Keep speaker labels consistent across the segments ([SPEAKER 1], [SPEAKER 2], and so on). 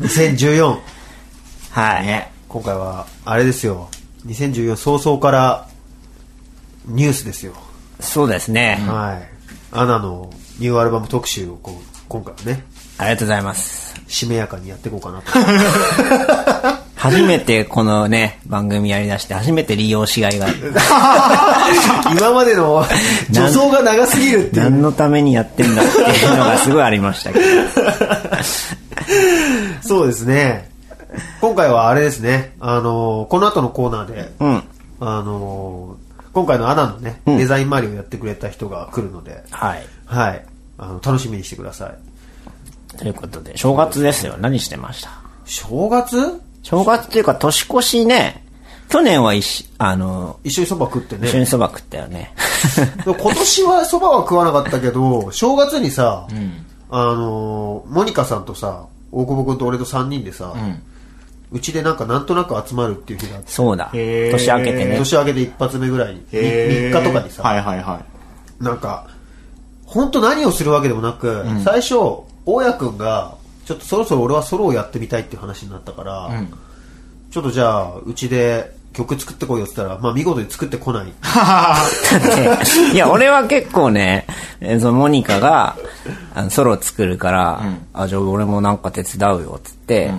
[SPEAKER 1] 2014
[SPEAKER 2] はい、
[SPEAKER 1] ね今回はあれですよ2014早々からニュースですよ、
[SPEAKER 2] そうですね、あ
[SPEAKER 1] はいアナのニューアルバム特集をこう今回はね
[SPEAKER 2] りがとうございます
[SPEAKER 1] しめやかにやっていこうかなと
[SPEAKER 2] 初めてこのね 番組やりだして初めて利用しがいがあ る
[SPEAKER 1] 今までの助走が長すぎるっていう
[SPEAKER 2] 何のためにやってんだっていうのがすごいありま したけど
[SPEAKER 1] そうですね今回はあれですねあのこの後のコーナーで、
[SPEAKER 2] うん
[SPEAKER 1] あの今回のアナのね、デザイン周りをやってくれた人が来るので、
[SPEAKER 2] はい
[SPEAKER 1] はい。あの、楽しみにしてください。
[SPEAKER 2] ということで正月ですよ何してました
[SPEAKER 1] 正月
[SPEAKER 2] 正月というか年越しね去年は一緒あの
[SPEAKER 1] 一緒にそば食って
[SPEAKER 2] 一緒に
[SPEAKER 1] ね。
[SPEAKER 2] そば食ったよ ね
[SPEAKER 1] でも今年はそばは食わなかったけど、正月にさ、あの、モニカさんとさ、大久保君と俺と3人でさ、うちでなんかなんとなく集まるっていう日があって、
[SPEAKER 2] そうだ
[SPEAKER 3] へー
[SPEAKER 2] 年明けてね
[SPEAKER 1] 年明けで一発目ぐらいに、3日とかにさ、
[SPEAKER 3] はいはいは
[SPEAKER 1] なんか、本当何をするわけでもなく、最初、大家くんが、ちょっとそろそろ俺はソロをやってみたいっていう話になったから、ちょっとじゃあ、うちで曲作ってこいよって言ったら、まあ見事に作ってこない。
[SPEAKER 2] いや、俺は結構ね、えーそのモニカがあのソロ作るから、あ、じゃあ俺もなんか手伝うよ、つって、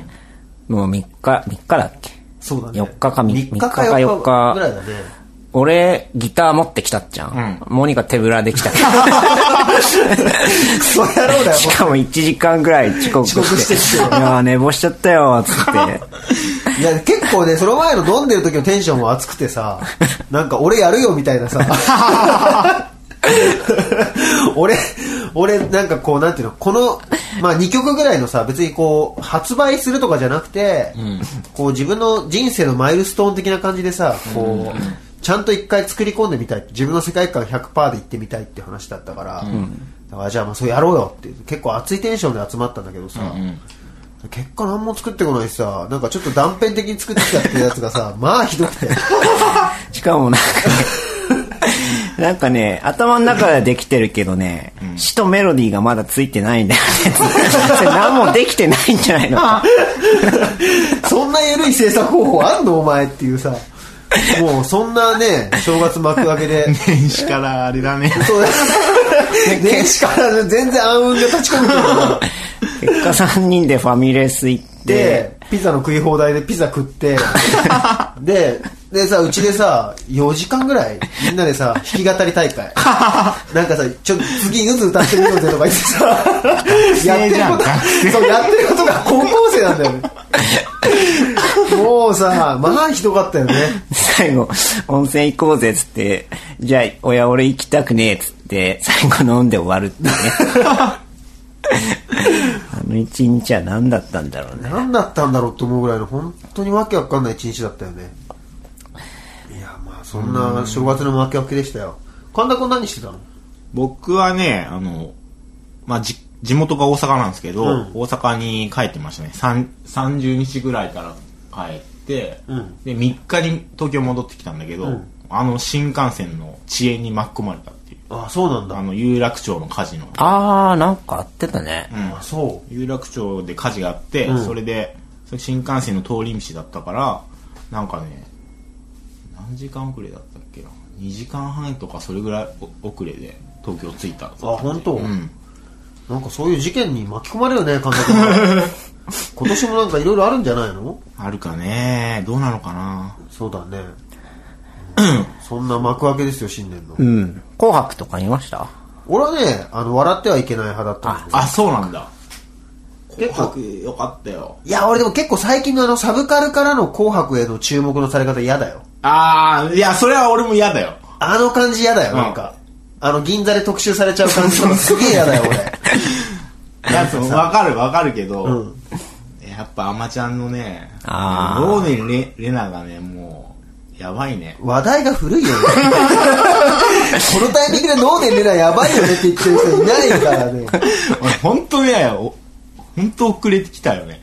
[SPEAKER 2] もう3日、3日だっけ
[SPEAKER 1] そうだね。
[SPEAKER 2] 4日かみ
[SPEAKER 1] 3日か
[SPEAKER 2] 3日か
[SPEAKER 1] 4
[SPEAKER 2] 4日
[SPEAKER 1] 日ぐらいだね。
[SPEAKER 2] 俺、ギター持ってきたっちゃん。モニカ手ぶらでき た。
[SPEAKER 1] クソ野郎だよ、
[SPEAKER 2] しかも1時間ぐらい遅刻して。
[SPEAKER 1] 遅刻してき
[SPEAKER 2] いやー、寝坊しちゃったよ、つって。
[SPEAKER 1] いや、結構ね、その前の飲んでる時のテンションも熱くてさ、なんか俺やるよみたいなさ、 俺、俺なんかこう、なんていうの、この、まあ2曲ぐらいのさ、別にこう、発売するとかじゃなくて、こう自分の人生のマイルストーン的な感じでさ、こう、ちゃんと一回作り込んでみたい。自分の世界観100%で行ってみたいって話だったから、だからじゃあまあそうやろうよっていう、結構熱いテンションで集まったんだけどさ、結果何も作ってこないしさなんかちょっと断片的に作ってきたっていうやつがさ まあひどくて
[SPEAKER 2] しかもなんかね、なんかね、頭の中ではできてるけどね、詩とメロディーがまだついてないんだよね。 それ何もできてないんじゃないのか。
[SPEAKER 1] そんな緩い制作方法あんのお前っていうさもうそんなね正月幕開け で
[SPEAKER 3] い。天使からあれだね。
[SPEAKER 1] そう だ年始から全然暗雲が立ち込むけど
[SPEAKER 2] 結果3人でファミレス行って、
[SPEAKER 1] でピザの食い放題でピザ食って ででさうちでさ4時間ぐらいみんなでさ弾き語り大 会なんかさちょ次ゆず歌ってみようぜとか言って さやってることが
[SPEAKER 3] 学生
[SPEAKER 1] そうやってることが高校生なんだよ ねもうさまあひどかったよね
[SPEAKER 2] 最後、温泉行こうぜっつって、じゃあ、親俺行きたくねえっつって、最後飲んで終わる ってね。あの一日は何だったんだろうね。
[SPEAKER 1] 何だったんだろうと思うぐらいの本当にわけわかんない一日だったよねいやまあそんな正月の幕開けでしたよ神田君何してたの
[SPEAKER 3] 僕はね、あの、まあ、じ、地元が大阪なんですけど、
[SPEAKER 1] うん
[SPEAKER 3] 大阪に帰ってましたね。三30日ぐらいから帰って、
[SPEAKER 1] うん
[SPEAKER 3] で、3日に東京戻ってきたんだけど、
[SPEAKER 1] ん
[SPEAKER 3] あの新幹線の遅延に巻き込まれたっていう。
[SPEAKER 1] あそうなんだ
[SPEAKER 3] あの、有楽町の火事の。
[SPEAKER 2] あー、なんかあってたね。
[SPEAKER 1] あそう
[SPEAKER 3] 有楽町で火事があって、
[SPEAKER 1] うん
[SPEAKER 3] それでそれ新幹線の通り道だったからなんかね何時間遅れだったっけな2時間半とかそれぐらいお遅れで東京着いたあ
[SPEAKER 1] あ本当
[SPEAKER 3] うん
[SPEAKER 1] なんかそういう事件に巻き込まれるよね、神田君 は今年もなんかいろいろあるんじゃないの
[SPEAKER 3] あるかねどうなのかな
[SPEAKER 1] そうだ ね。そんな幕開けですよ、新年の。
[SPEAKER 2] うん。紅白とか見ました
[SPEAKER 1] 俺はね、あの、笑ってはいけない派だったんだ
[SPEAKER 3] あそうなんだ
[SPEAKER 1] けど。
[SPEAKER 3] 紅
[SPEAKER 1] 結構、
[SPEAKER 3] 白よかったよ
[SPEAKER 1] いや、俺でも結構最近のあの、サブカルからの紅白への注目のされ方嫌だよ。
[SPEAKER 3] ああいやそれは俺も嫌だ よ
[SPEAKER 1] あの感じ嫌だよ、
[SPEAKER 3] うん
[SPEAKER 1] なんか。あの、銀座で特集されちゃう感 じもすげえ嫌だよ、俺。
[SPEAKER 3] いやそうわかるわかるけど、
[SPEAKER 1] うん
[SPEAKER 3] やっぱアマちゃんのね
[SPEAKER 2] あー
[SPEAKER 3] ローネレレナがねもうやばいね
[SPEAKER 1] 話題が古いよ ね。このタイミングで脳年出ないやばいよねって言ってる人いないからね。
[SPEAKER 3] 俺本当ねお本当遅れてきたよ ね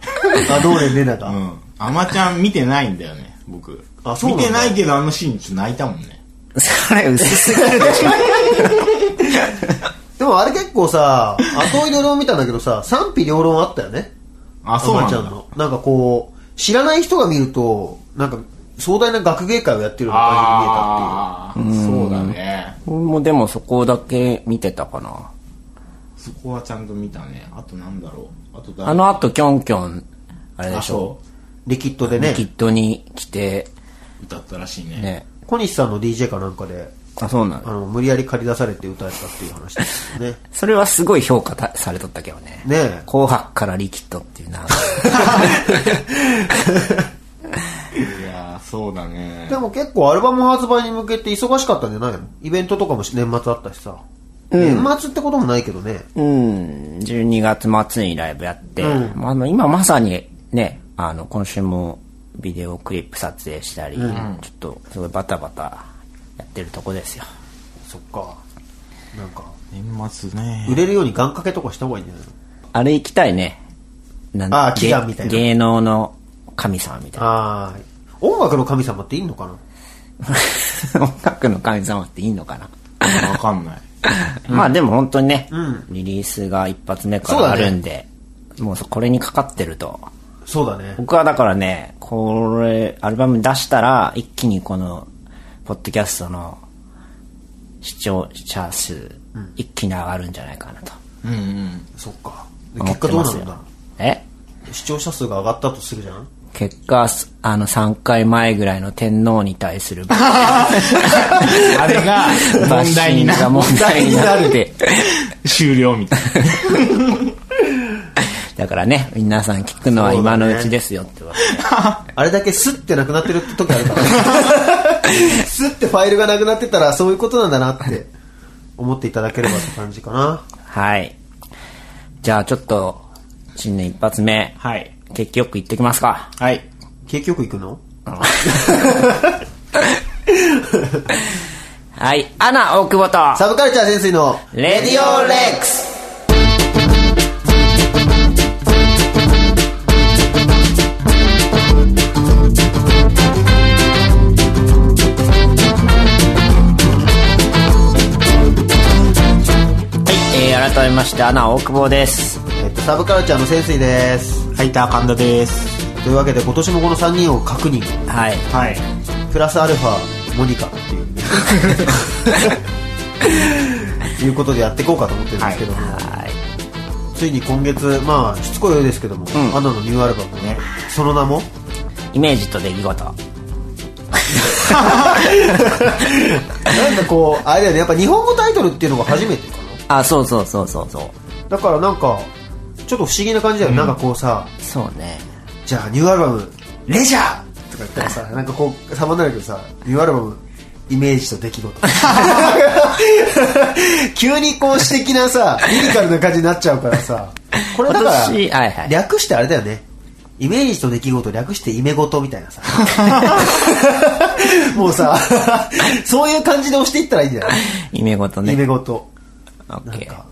[SPEAKER 1] あ、脳年出な
[SPEAKER 3] う
[SPEAKER 1] か。
[SPEAKER 3] んあまちゃん見てないんだよね僕
[SPEAKER 1] あそうなんだ
[SPEAKER 3] 見てないけどあのシーンちょっと泣いたもんね
[SPEAKER 2] それ薄すぎるでしょ。
[SPEAKER 1] でもあれ結構さ、後追いで俺も見たんだけどさ、賛否両論あったよね。
[SPEAKER 3] あそうなんだ
[SPEAKER 1] ちゃんのなんかこう知らない人が見るとなんか壮大な学芸会をやってるような感
[SPEAKER 3] ああそうだね
[SPEAKER 2] 俺もでもそこだけ見てたかな。
[SPEAKER 3] そこはちゃんと見たねあとなんだろうあと誰
[SPEAKER 2] あの後、キョンキョン、あれで
[SPEAKER 3] あ
[SPEAKER 2] しょ。
[SPEAKER 3] そ
[SPEAKER 1] じに見えたっていうリキッドでね
[SPEAKER 2] キッドに来て、
[SPEAKER 3] う歌ったらしいね
[SPEAKER 2] ね。
[SPEAKER 1] 小西さんの DJ かなんかで
[SPEAKER 2] あ、そうな
[SPEAKER 1] あ
[SPEAKER 2] の。
[SPEAKER 1] の無理やり借り出されて歌えたっていう話ですよね
[SPEAKER 2] それはすごい評価たされとったけどね。
[SPEAKER 1] ねえ
[SPEAKER 2] 紅白からリキッドっていうな。
[SPEAKER 3] いやーそうだね
[SPEAKER 1] でも結構アルバム発売に向けて忙しかったんじゃないのイベントとかもし年末あったしさ、年末ってこともないけどね
[SPEAKER 2] うん、12月末にライブやって、まああの今まさにね、あの、今週もビデオクリップ撮影したり、ちょっとすごいバタバタやってるとこですよ。
[SPEAKER 1] そっかなんか
[SPEAKER 3] 年末ね
[SPEAKER 1] 売れるように願掛けとかした方がいいんじゃないの
[SPEAKER 2] あれ行きたいね。なん
[SPEAKER 1] あー
[SPEAKER 2] 芸
[SPEAKER 1] 祈願みたいな
[SPEAKER 2] 芸能の神様みたいな。
[SPEAKER 1] あー音楽の神様っていいのかな
[SPEAKER 2] 音楽の神様っていいのかな。
[SPEAKER 3] わかんない
[SPEAKER 2] まあでも本当にね、
[SPEAKER 1] ん
[SPEAKER 2] リリースが一発目か
[SPEAKER 1] そう
[SPEAKER 2] らあ
[SPEAKER 1] だね
[SPEAKER 2] るんで、もうそこれにかかってると。
[SPEAKER 1] そうだね
[SPEAKER 2] 僕はだからね、これ、アルバム出したら、一気にこの、ポッドキャストの視聴者数、一気に上がるんじゃないかなと
[SPEAKER 3] うんうん
[SPEAKER 1] そっかで
[SPEAKER 2] 思っ
[SPEAKER 1] 結果
[SPEAKER 2] て
[SPEAKER 1] どう
[SPEAKER 2] ま
[SPEAKER 1] な
[SPEAKER 2] す
[SPEAKER 1] る
[SPEAKER 2] よ。
[SPEAKER 1] んだろ
[SPEAKER 2] え
[SPEAKER 1] う視聴者数が上がったとするじゃん
[SPEAKER 2] 結果、すあの、3回前ぐらいの天皇に対するバ
[SPEAKER 3] あれが
[SPEAKER 2] ッ
[SPEAKER 3] 問題
[SPEAKER 2] シ
[SPEAKER 3] に
[SPEAKER 2] ン
[SPEAKER 3] な
[SPEAKER 2] グが
[SPEAKER 3] る
[SPEAKER 2] 問題になって、
[SPEAKER 3] 終了みたいな
[SPEAKER 2] だからね、皆さん聞くのは今のうちですよってわけ
[SPEAKER 1] あれだけスッてなくなってる時ある からねスッてファイルがなくなってたらそういうことなんだなって思っていただければって感じかな
[SPEAKER 2] はい。じゃあちょっと、新年一発目、
[SPEAKER 3] はい
[SPEAKER 2] 結局行ってきますか。
[SPEAKER 3] はい
[SPEAKER 1] 結局行くの
[SPEAKER 2] はい、アナ大久保と、
[SPEAKER 1] サブカルチャー潜水の
[SPEAKER 2] レディオレックスはい、えー、改めまして、アナ大久保です。
[SPEAKER 1] えっと、サブカルチャーの潜水です。
[SPEAKER 3] ハイター神田です
[SPEAKER 1] というわけで今年もこの3人を確認。
[SPEAKER 2] はい。
[SPEAKER 3] はい
[SPEAKER 1] プラスアルファ、モニカっていう。 いうことでやっていこうかと思ってるんですけども、
[SPEAKER 2] はい。
[SPEAKER 1] ついに今月、まあ、しつこいようですけども、アナのニューアルバムね、その名も、
[SPEAKER 2] イメージと出来事。
[SPEAKER 1] なんかこ う、あれだよね、やっぱ日本語タイトルっていうのが初めてか
[SPEAKER 2] あ、そうそうそうそうそう。
[SPEAKER 1] な。だからなんか、ちょっと不思議な感じだよね、なんかこうさ、
[SPEAKER 2] そうね。
[SPEAKER 1] じゃあニューアルバム、レジャーとか言ったらさ、なんかこう、様になるけどさ、ニューアルバム、イメージと出来事。 急にこう、詩的なさ、リリカルな感じになっちゃうからさ、これだから、
[SPEAKER 2] 今年はいはい
[SPEAKER 1] 略してあれだよね。イメージと出来事略してイメ事みたい なさ。もうさ、そういう感じで押していったらいいんじゃない
[SPEAKER 2] イメ事
[SPEAKER 1] イメ
[SPEAKER 2] ね。
[SPEAKER 1] 事。
[SPEAKER 2] オッケー。
[SPEAKER 1] だ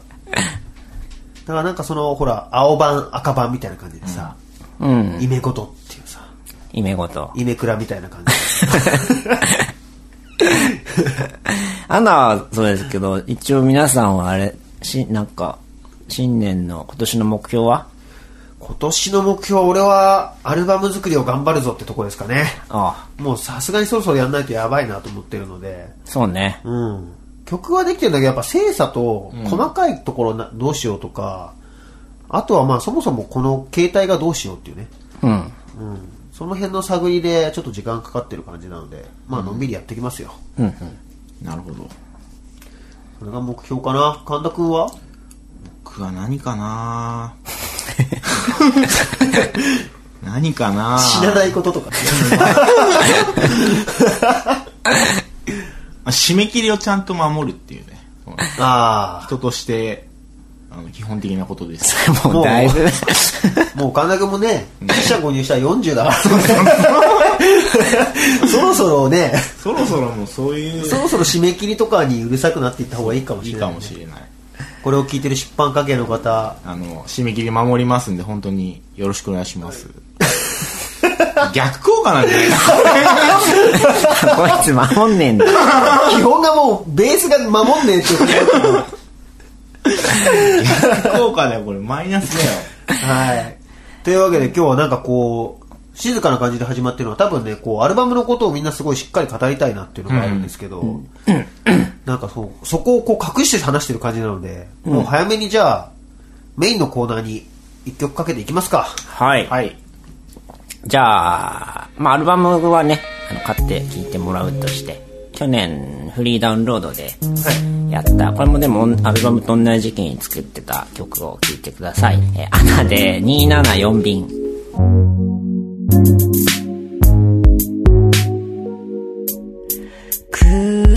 [SPEAKER 1] からなんかその、ほら、青版、赤版みたいな感じでさ、
[SPEAKER 2] うん。
[SPEAKER 1] イメ事っていうさ、
[SPEAKER 2] イメ事。
[SPEAKER 1] イメクラみたいな感じ。
[SPEAKER 2] アナはそうですけど、一応皆さんはあれ、し、なんか、新年の今年の目標は
[SPEAKER 1] 今年の目標俺はアルバム作りを頑張るぞってとこですかね
[SPEAKER 2] ああ、
[SPEAKER 1] もうさすがにそろそろやんないとやばいなと思ってるので
[SPEAKER 2] そうね。
[SPEAKER 1] うん曲はできてるんだけどやっぱ精査と細かいところな、どうしようとかあとはまあそもそもこの携帯がどうしようっていうね、
[SPEAKER 2] うん。
[SPEAKER 1] うん、その辺の探りでちょっと時間かかってる感じなのでまあのんびりやってきますよ、
[SPEAKER 2] うんうん。
[SPEAKER 3] なるほど
[SPEAKER 1] それが目標かな神田君は
[SPEAKER 3] 僕は何 かな何かな
[SPEAKER 1] 知らないこととか、
[SPEAKER 3] あ締め切りをちゃんと守るっていうねその
[SPEAKER 1] あ
[SPEAKER 3] 人としてあの基本的なことです
[SPEAKER 2] もうだ いぶ、
[SPEAKER 1] あもう神田君もね記者購入したら40だから そろそろね
[SPEAKER 3] そろそろもうそういう
[SPEAKER 1] そろそろ締め切りとかにうるさくなっていった方がいいかも
[SPEAKER 3] い
[SPEAKER 1] し
[SPEAKER 3] い
[SPEAKER 1] れな
[SPEAKER 3] か
[SPEAKER 1] い,、
[SPEAKER 3] もしれない
[SPEAKER 1] これを聞いてる出版家系の方
[SPEAKER 3] あの締め切り守りますんで本当によろしくお願いします逆効果なんじゃないか
[SPEAKER 2] こいつ守んねえんだ。
[SPEAKER 1] 基本がもうベースが守んねえってことだから
[SPEAKER 3] 逆効果だよこれマイナスだよ
[SPEAKER 1] はいというわけで今日はなんかこう、静かな感じで始まってるのは多分ね、こう、アルバムのことをみんなすごいしっかり語りたいなっていうのがあるんですけど、なんかそう、そこをこう隠して話してる感じなので、もう早めにじゃあ、メインのコーナーに一曲かけていきますか。
[SPEAKER 2] はい。
[SPEAKER 3] はい。
[SPEAKER 2] じゃあ、まあ、アルバムはね、あの、買って聴いてもらうとして、去年、フリーダウンロードで、やった、これもでも、アルバムと同じ時期に作ってた曲を聴いてください。えー、アナで274便。
[SPEAKER 4] 空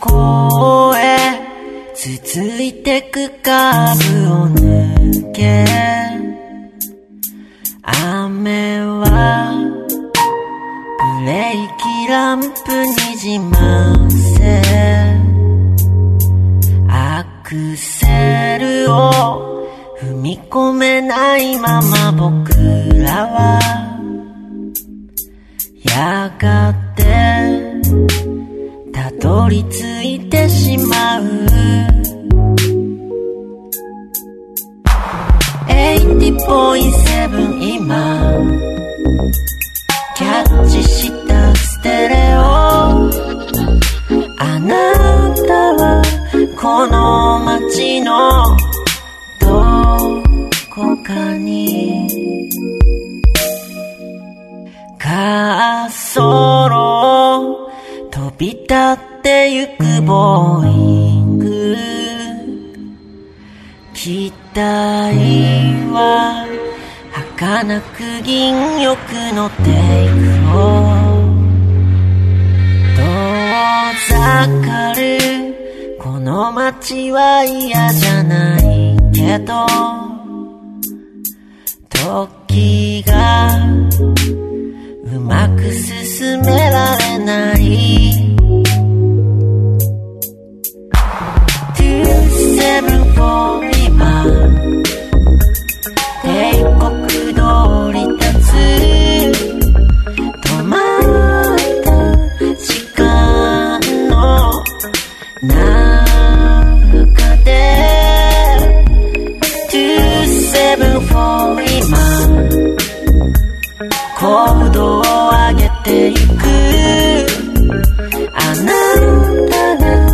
[SPEAKER 4] 港へ続いてくカーブを抜け雨はブレーキランプにじませアクセルを踏み込めないまま僕らはやがてたどり着いてしまう80.7今キャッチしたステレオあなたはこの街のどこかにカーソロ飛び立ってゆくボーイング期待は儚く銀翼のテイクを遠ざかるこの街は嫌じゃないけど時がうまく進められない274今帝国通り立つ止まった時間の中で274今高度を上げていくあなたが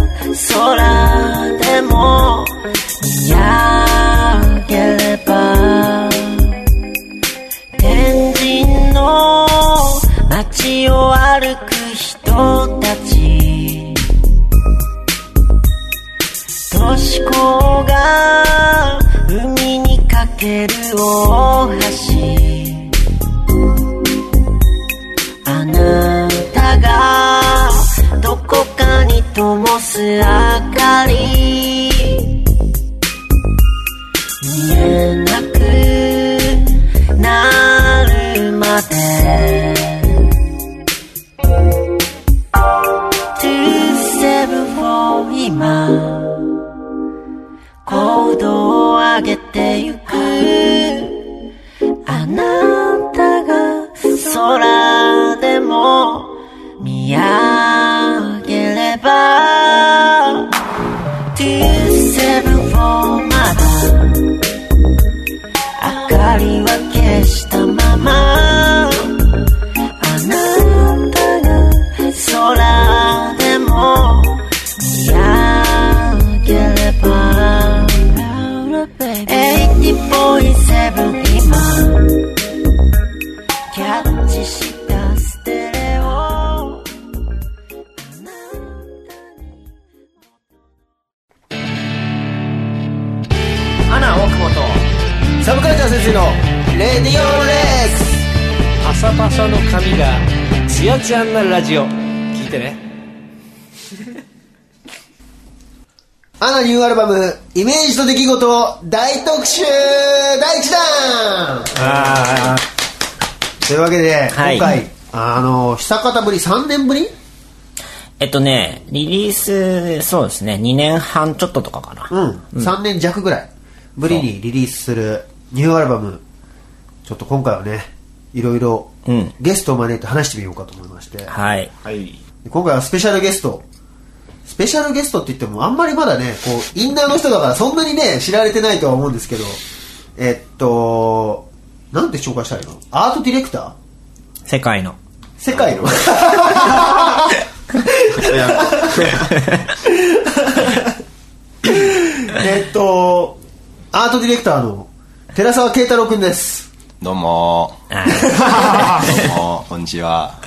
[SPEAKER 4] 空でも見上げれば天神の街を歩く人たち都市高が海にかける大橋あなたがどこかに灯す明かり見えなくなるまで274今行動を上げてゆくあなたが空でも見上げれば274まだ明かりは消したままあなたが空でも見上げれば80.7今キャッチしたステレオあなたに
[SPEAKER 2] アナ、大久保と、
[SPEAKER 1] サブカルチャー先生の、レディオレックス
[SPEAKER 5] パサパサの髪がツヤツヤになるラジオ聞いてね
[SPEAKER 1] アナニューアルバム、イメージと出来事を大特集第1弾
[SPEAKER 2] あ
[SPEAKER 1] というわけで、
[SPEAKER 2] はい
[SPEAKER 1] 今回、あの、久方ぶり、3年ぶり
[SPEAKER 2] えっとね、リリース、そうですね、2年半ちょっととかかな。
[SPEAKER 1] うん、3年弱ぐらいぶりにリリースするニューアルバム、ちょっと今回はね、いろいろ
[SPEAKER 2] うん
[SPEAKER 1] ゲストを招いて話してみようかと思いまして、
[SPEAKER 2] はい。
[SPEAKER 3] はい。
[SPEAKER 1] 今回はスペシャルゲスト、スペシャルゲストって言ってもあんまりまだね、こう、インナーの人だからそんなにね、知られてないとは思うんですけど、えっと、なんて紹介したらいいのアートディレクター
[SPEAKER 2] 世界の。
[SPEAKER 1] 世界の えっとアートディレクターの寺澤慶太郎くんです
[SPEAKER 6] どうもーどうもーこんにちは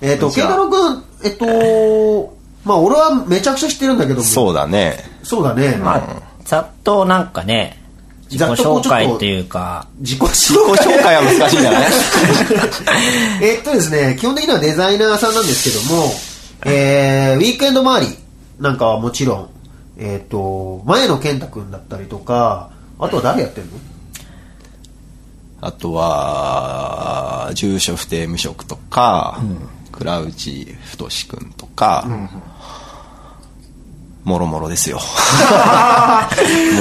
[SPEAKER 1] えっと慶太郎くんえっとまあ俺はめちゃくちゃ知ってるんだけども
[SPEAKER 6] そうだね
[SPEAKER 1] そうだね、
[SPEAKER 2] まあ、ざっとなんかね、自己
[SPEAKER 1] ざっとこうちょ
[SPEAKER 2] 紹
[SPEAKER 1] っと
[SPEAKER 2] 介っていうか、
[SPEAKER 1] 自己紹
[SPEAKER 6] 自己 紹介は難しいんだよね
[SPEAKER 1] えっとですね、基本的にはデザイナーさんなんですけども、えー、ウィークエンド周りなんかはもちろん、えっ、と、前野健太くんだったりとか、あとは誰やってんの
[SPEAKER 6] あとは住所不定無職とか、倉内太くんとか、もろもろですよ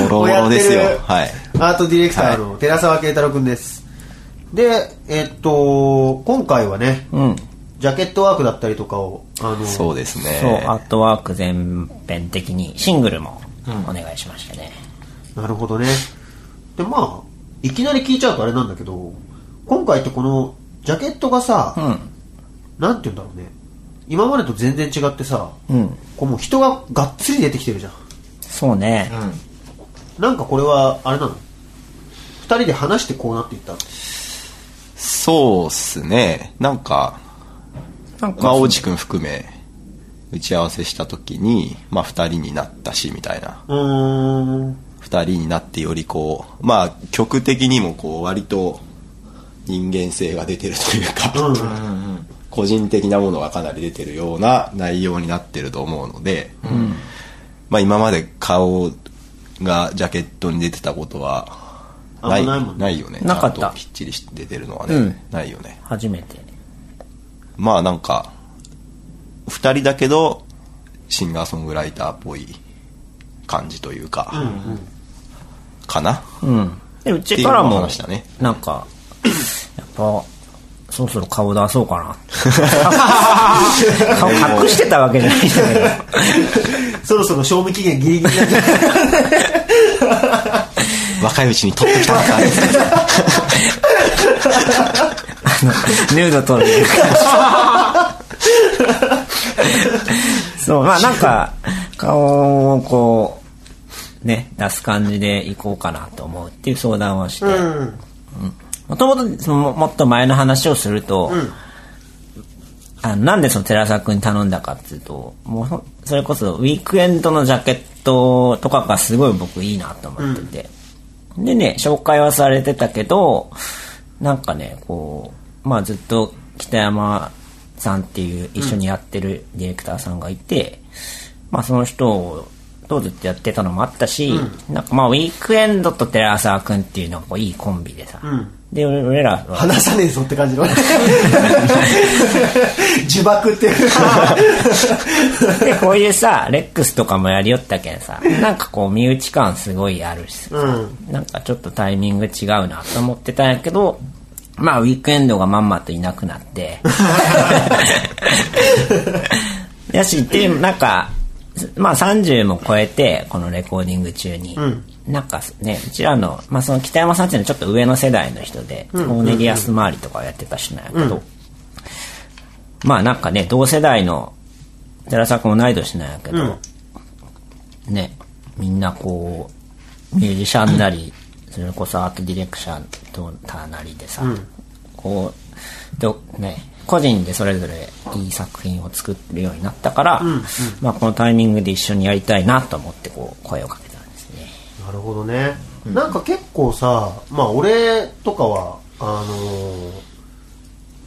[SPEAKER 6] もろもろですよ
[SPEAKER 1] こうやってる
[SPEAKER 6] はい
[SPEAKER 1] アートディレクターの寺澤慶太郎くんです。で、えっ、と、今回はね、
[SPEAKER 2] うん。
[SPEAKER 1] ジャケットワークだったりとかを、あの、
[SPEAKER 6] そうですね
[SPEAKER 2] そう、アートワーク全編的にシングルもお願いしましたね。
[SPEAKER 1] なるほどね。で、まあ、いきなり聞いちゃうとあれなんだけど、今回ってこの、ジャケットがさ、なんて言うんだろうね。今までと全然違ってさ、
[SPEAKER 2] うん
[SPEAKER 1] こうもう人ががっつり出てきてるじゃん。
[SPEAKER 2] そうね。
[SPEAKER 1] なんかこれは、あれなの二人で話してこうなっていったの
[SPEAKER 6] そうっすねなんか
[SPEAKER 2] なんか、
[SPEAKER 6] まあ、大地君含め打ち合わせした時に、まあ、2人になったしみたいな
[SPEAKER 1] うーん。
[SPEAKER 6] 2人になってよりこうまあ曲的にもこう割と人間性が出てるというか、個人的なものがかなり出てるような内容になってると思うので、まあ、今まで顔がジャケットに出てたことは
[SPEAKER 1] あん
[SPEAKER 6] ない
[SPEAKER 1] まないもんね
[SPEAKER 6] ないよね
[SPEAKER 2] なかった
[SPEAKER 6] ちゃんときっちり出てるのはね、
[SPEAKER 2] うん
[SPEAKER 6] ないよね
[SPEAKER 2] 初めて。
[SPEAKER 6] まあなんか2人だけどシンガーソングライターっぽい感じというか、かな、
[SPEAKER 2] うん。で、うちから
[SPEAKER 6] っていうのを
[SPEAKER 2] も
[SPEAKER 6] 話したね、
[SPEAKER 2] なんか、やっぱ、そろそろ顔出そうか な。顔隠してたわけじゃないんだけど。
[SPEAKER 1] そろそろ賞味期限ギリギリなんじゃない
[SPEAKER 6] 若いうちに撮って きたのか
[SPEAKER 2] ヌード撮るっていうかそう、まあなんか、顔をこう、ね、出す感じでいこうかなと思うっていう相談をして、 もともとそのもっと前の話をすると、あのなんでその寺澤君に頼んだかっていうともうほんそれこそウィークエンドのジャケットとかがすごい僕いいなと思ってて、でね紹介はされてたけどなんかねこうまあずっと北山さんっていう一緒にやってるディレクターさんがいて、まあその人をとずっとやってたのもあったし、なんかまあウィークエンドと寺澤君っていうのはこういいコンビでさ、で俺俺らは
[SPEAKER 1] 話さねえぞって感 じの。呪縛っていう。
[SPEAKER 2] で、こういうさ、レックスとかもやりよったけんさ、なんかこう、身内感すごいあるしさ、なんかちょっとタイミング違うなと思ってたんやけど、まあ、ウィークエンドがまんまといなくなって、 やし、っていう、なんか、まあ30も超えて、このレコーディング中に、なんかね、うちらの、まあその北山さんっていうのはちょっと上の世代の人で、コーネリアス周りとかをやってた人なんやけど、まあなんかね、同世代の、寺坂も同い年なんやけど、ね、みんなこう、ミュージシャンなり、それこそアートディレクションとターなりでさ、こう、ど、ね、個人でそれぞれいい作品を作るようになったから、まあこのタイミングで一緒にやりたいなと思ってこう、声をかけたんですね。
[SPEAKER 1] なるほどね、なんか結構さまあ俺とかはあのー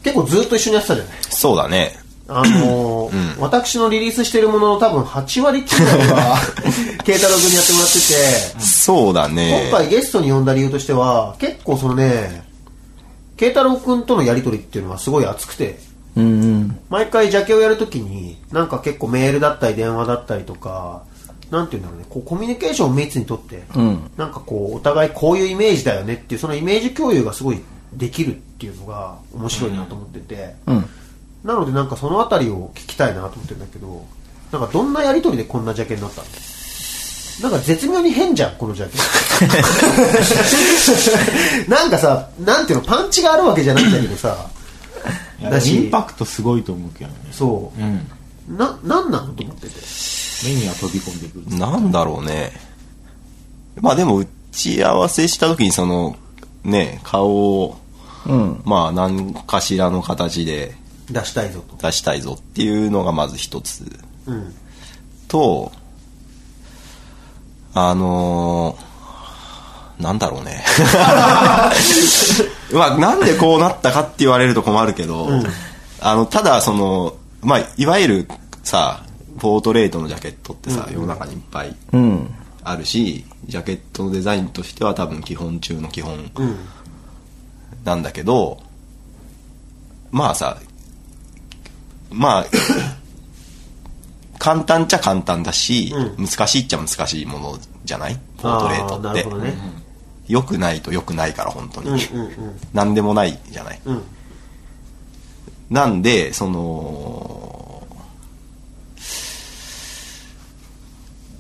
[SPEAKER 1] 結構ずっと一緒にやってたじゃない
[SPEAKER 6] そうだね
[SPEAKER 1] あのー私のリリースしてるものの多分8割っていうのは慶太郎君にやってもらってて、
[SPEAKER 6] そうだね
[SPEAKER 1] 今回ゲストに呼んだ理由としては結構そのね慶太郎君とのやり取りっていうのはすごい熱くて
[SPEAKER 2] うんうん。
[SPEAKER 1] 毎回ジャケをやるときになんか結構メールだったり電話だったりとかなんていうんだろうねこうコミュニケーションを密にとって、なんかこうお互いこういうイメージだよねっていうそのイメージ共有がすごいできるっていうのが面白いなと思ってて、なのでなんかそのあたりを聞きたいなと思ってるんだけどなんかどんなやりとりでこんなジャケになったのなんか絶妙に変じゃんこのジャケットなんかさなんていうのパンチがあるわけじゃないんだけどさ
[SPEAKER 3] いや
[SPEAKER 1] だし
[SPEAKER 3] インパクトすごいと思うけどね
[SPEAKER 1] そう、
[SPEAKER 3] うん
[SPEAKER 1] ななんなのと思ってて
[SPEAKER 3] 目には飛び込んでくる
[SPEAKER 6] なんだろうね。まあでも、打ち合わせした時にその、ね、顔を、まあ何かしらの形で
[SPEAKER 1] 出したいぞと
[SPEAKER 6] 出したいぞっていうのがまず一つ
[SPEAKER 1] うん
[SPEAKER 6] と、あのーなんだろうね。 まあなんでこうなったかって言われると困るけど、あの、ただその、まあいわゆるさ、ポートレートのジャケットってさ、世の中にいっぱい
[SPEAKER 2] うん。
[SPEAKER 6] あるしジャケットのデザインとしては多分基本中の基本
[SPEAKER 1] うん
[SPEAKER 6] なんだけど、まあさまあ 簡単っちゃ簡単だし、
[SPEAKER 1] うん
[SPEAKER 6] 難しいっちゃ難しいものじゃないポートレート
[SPEAKER 1] あ
[SPEAKER 6] っ
[SPEAKER 1] なる
[SPEAKER 6] て、
[SPEAKER 1] ほどね
[SPEAKER 6] 良くないと良くないから本当に、
[SPEAKER 1] うんうんうん
[SPEAKER 6] 何でもないじゃない
[SPEAKER 1] うん
[SPEAKER 6] なんで、その、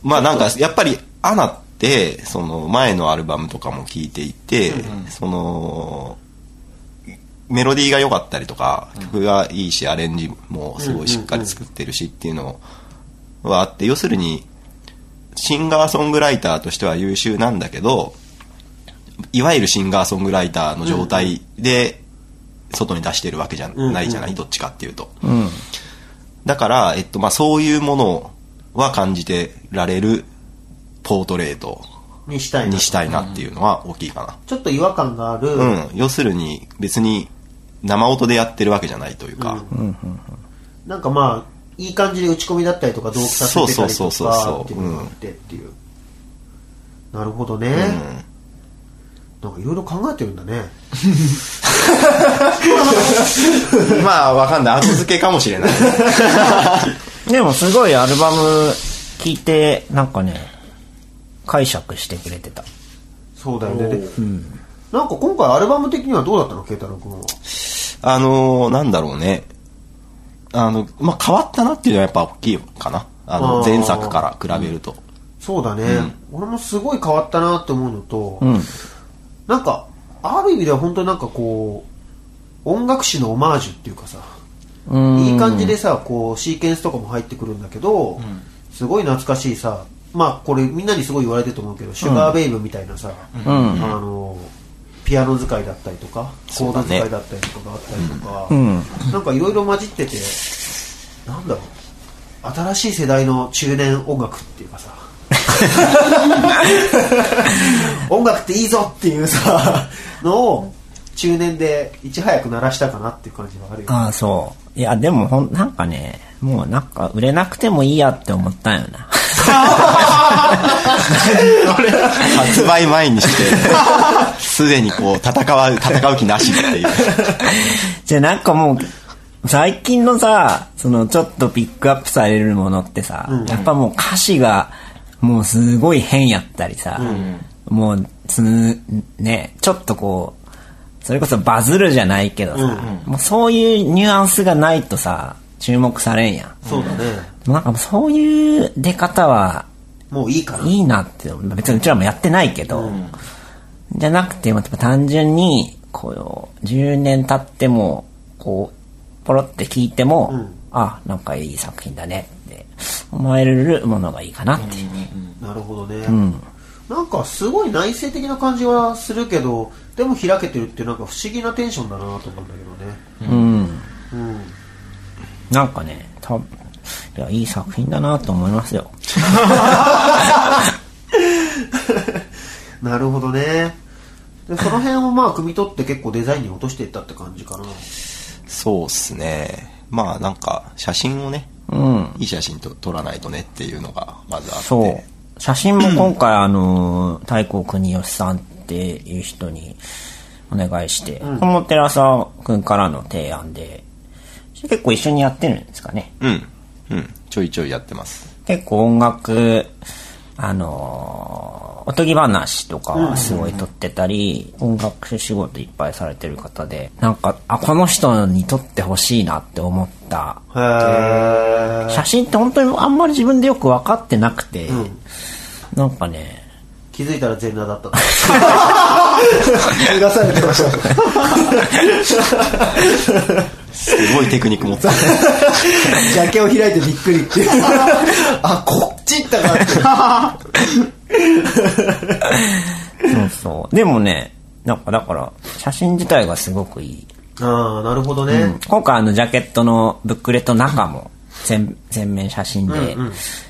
[SPEAKER 6] まあなんか、やっぱり、アナって、その、前のアルバムとかも聞いていて、その、メロディーが良かったりとか、曲がいいし、アレンジもすごいしっかり作ってるしっていうのはあって、要するに、シンガーソングライターとしては優秀なんだけど、いわゆるシンガーソングライターの状態で、外に出してるわけじゃないじゃない、どっちかっていうと。だから、えっと、まあ、そういうものは感じてられるポートレート
[SPEAKER 1] にしたいな
[SPEAKER 6] にしたいなっていうのは大きいか
[SPEAKER 1] ちょっと違和感がある、
[SPEAKER 6] な。うん。要するに、別に生音でやってるわけじゃないというか、
[SPEAKER 1] なんかまあいい感じで打ち込みだったりとか同期させてたり
[SPEAKER 6] そうそう
[SPEAKER 1] と
[SPEAKER 6] そうそう
[SPEAKER 1] か
[SPEAKER 6] そう
[SPEAKER 1] っていうのがあってっていう、なるほどね、
[SPEAKER 6] うん
[SPEAKER 1] なんかいろいろ考えてるんだね
[SPEAKER 6] まあ、わかんない。後付けかもしれない。
[SPEAKER 2] でもすごいアルバム聞いて、なんかね、解釈してくれてた。
[SPEAKER 1] そうだよね、でなんか今回アルバム的にはどうだったの慶太郎君は
[SPEAKER 6] あのーなんだろうね。あの、まあ、変わったなっていうのはやっぱ大きいかな。あの、
[SPEAKER 1] あー
[SPEAKER 6] 前作から比べると。
[SPEAKER 1] そうだね、俺もすごい変わったなって思うのと、なんかある意味では本当になんかこう音楽史のオマージュっていうかさいい感じでさこうシーケンスとかも入ってくるんだけど、すごい懐かしいさまあこれみんなにすごい言われてると思うけど、シュガーベイブみたいなさ、あのピアノ使いだったりとかコ
[SPEAKER 6] そ
[SPEAKER 1] ー
[SPEAKER 6] うだ
[SPEAKER 1] ド
[SPEAKER 6] ね
[SPEAKER 1] 使いだったりとかがあったりとか、なんかいろいろ混じっててなんだろう新しい世代の中年音楽っていうか さ音楽っていいぞっていうさのを中年でいち早く鳴らしたかなっていう感じはあるよね
[SPEAKER 2] ああ、そう。いや、でもほん、なんかね、もうなんか売れなくてもいいやって思ったんよな。
[SPEAKER 6] 発売前にして、すでにこう、戦う、戦う気なしっていう。
[SPEAKER 2] じゃあなんかもう、最近のさ、そのちょっとピックアップされるものってさ、やっぱもう歌詞が、もうすごい変やったりさ、もうつ、ね、ちょっとこう、それこそバズるじゃないけどさ、もうそういうニュアンスがないとさ、注目されんやん。
[SPEAKER 1] そうだね
[SPEAKER 2] もうなんかもうそういう出方は
[SPEAKER 1] もういいから
[SPEAKER 2] いいなって、別にうちらもやってないけど、じゃなくて、まあ、単純に、こう、10年経っても、こう、ポロって聞いても、あ、なんかいい作品だねって思えるものがいいかなっていうね。
[SPEAKER 1] なるほどね、なんかすごい内省的な感じはするけどでも開けてるっていうなんか不思議なテンションだなと思うんだけどね
[SPEAKER 2] なんかね、たいや、いい作品だなと思いますよ。
[SPEAKER 1] なるほどねでその辺をまあ汲み取って結構デザインに落としていったって感じかな
[SPEAKER 6] そうっすね。まあなんか、写真をね、いい写真と撮らないとねっていうのがまずあって。
[SPEAKER 2] そう。写真も今回、あの、太鼓国吉さんっていう人にお願いして、これも寺澤くんからの提案で、結構一緒にやってるんですかね。
[SPEAKER 6] うん。うん。ちょいちょいやってます。
[SPEAKER 2] 結構音楽、あのーおとぎ話とかすごい撮ってたり、音楽仕事いっぱいされてる方で、なんか、あ、この人に撮ってほしいなって思った。
[SPEAKER 1] へえ
[SPEAKER 2] 写真って本当にあんまり自分でよく分かってなくて、なんかね、
[SPEAKER 1] 気づいたら全裸だった。脱がされてました。
[SPEAKER 6] すごいテクニック持ってる。
[SPEAKER 1] ジャケを開いてびっくりっていう。 あ、こっち行ったかって。
[SPEAKER 2] そうそう。でもね、なんかだから、写真自体がすごくいい。
[SPEAKER 1] ああ、なるほどね。
[SPEAKER 2] 今回あの、ジャケットのブックレットの中も、全全面写真で、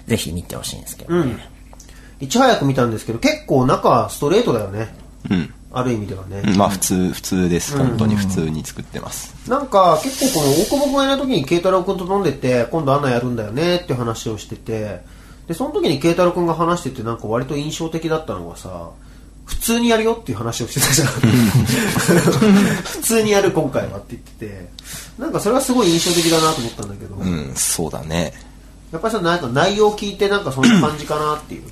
[SPEAKER 2] ぜひ見てほしいんですけどね。
[SPEAKER 1] いち早く見たんですけど、結構中はストレートだよね。
[SPEAKER 6] うん。
[SPEAKER 1] ある意味ではね。
[SPEAKER 6] うんまあ普通、普通です。本当に普通に作ってます。
[SPEAKER 1] なんか、結構この大久保君がいない時に慶太郎君と飲んでて、今度アナやるんだよねって話をしてて、で、その時に慶太郎君が話してて、なんか割と印象的だったのがさ、普通にやるよっていう話をしてたじ ゃん。普通にやる今回はって言ってて、なんかそれはすごい印象的だなと思ったんだけど、
[SPEAKER 6] うん、そうだね。
[SPEAKER 1] やっぱりさ、なんか内容を聞いてなんかそんな感じかなっていう。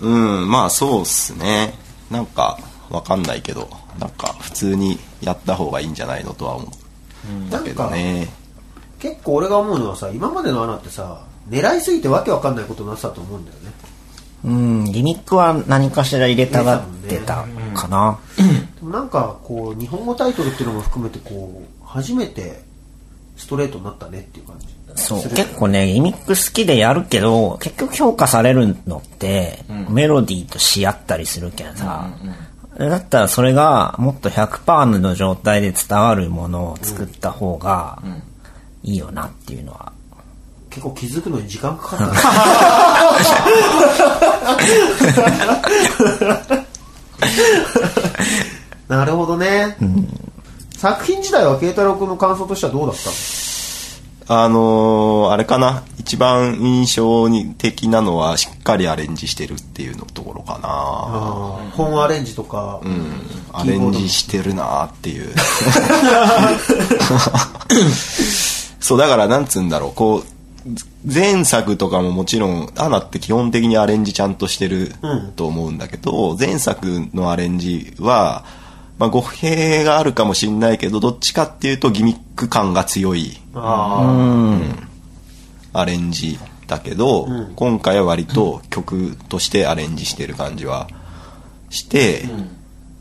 [SPEAKER 6] うん、まあそうっすね。なんか、わかんないけど、なんか普通にやった方がいいんじゃないのとは思うんだけどね。
[SPEAKER 1] 結構俺が思うのはさ、今までのアナってさ、狙いすぎてわけわかんないことになってたと思うんだよね。
[SPEAKER 2] うん、ギミックは何かしら入れたがってたかな。
[SPEAKER 1] でもなんかこう日本語タイトルっていうのも含めてこう初めてストレートになったねっていう感じ
[SPEAKER 2] そう、結構ね、ギミック好きでやるけど、結局評価されるのって、メロディーとし合ったりするけんさ、だったらそれがもっと100%の状態で伝わるものを作った方がいいよなっていうのは。
[SPEAKER 1] 結構気づくのに時間かかったななるほどね、作品自体は慶太郎君の感想としてはどうだったの
[SPEAKER 6] あのーあれかな。一番印象に的なのは、しっかりアレンジしてるっていうのところかな。
[SPEAKER 1] あー本アレンジとか、
[SPEAKER 6] アレンジしてるなーっていうそうだからなんつうんだろうこう前作とかももちろんアナって基本的にアレンジちゃんとしてると思うんだけど、前作のアレンジは、まあ、語弊があるかもしんないけどどっちかっていうとギミック感が強い
[SPEAKER 1] あ
[SPEAKER 6] アレンジだけど、今回は割と曲としてアレンジしてる感じはして、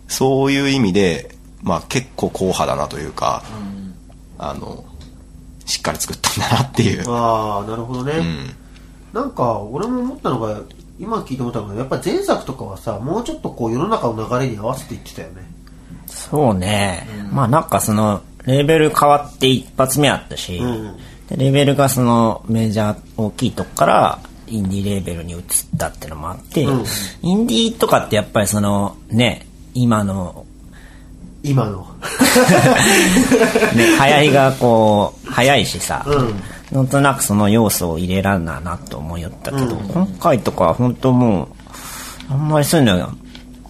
[SPEAKER 6] そういう意味で、まあ、結構硬派だなというか、あのしっかり作ったんだなっていう
[SPEAKER 1] ー、あーなるほどね、
[SPEAKER 6] うん
[SPEAKER 1] なんか俺も思ったのが今聞いて思ったのがやっぱ前作とかはさもうちょっとこう世の中の流れに合わせていってたよね
[SPEAKER 2] そうね、まあなんかその、レーベル変わって一発目あったし、
[SPEAKER 1] ん
[SPEAKER 2] でレーベルがそのメジャー大きいとこからインディーレーベルに移ったってのもあって、インディーとかってやっぱりそのね、今の
[SPEAKER 1] 今の
[SPEAKER 2] ね、流行りがこ う、早いしさ、なんとなくその要素を入れらんななと思いよったけど、今回とかは本当もう、あんまりそういうの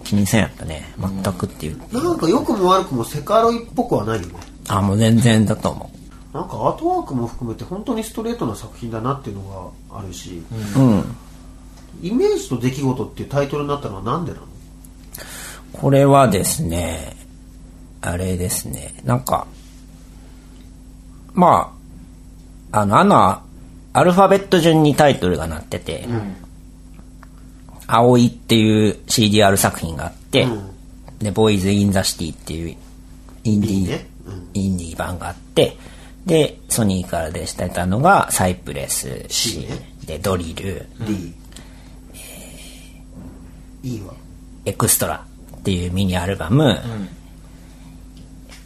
[SPEAKER 2] 気にせんやったね。全くっていう。
[SPEAKER 1] なんか良くも悪くもセカロイっぽくはないよね。
[SPEAKER 2] あ、もう全然だと思
[SPEAKER 1] なんかアートワークも含めて本当にストレートな作品だなっていうのがあるし、
[SPEAKER 2] う。うん。
[SPEAKER 1] イメージと出来事っていうタイトルになったのはなんでなの
[SPEAKER 2] これはですね、あれですね、なんか、まあ、あの、アナ、アルファベット順にタイトルがなってて、葵っていう CDR 作品があって、で、ボーイズ・イン・ザ・シティっていうインディ
[SPEAKER 1] いい
[SPEAKER 2] ー、
[SPEAKER 1] ねうん
[SPEAKER 2] インディー版があって、で、ソニーから出してたのが、サイプレス、
[SPEAKER 1] C
[SPEAKER 2] C
[SPEAKER 1] ね、
[SPEAKER 2] で、ドリル、
[SPEAKER 1] ?D。いいわ。
[SPEAKER 2] エクストラっていうミニアルバム、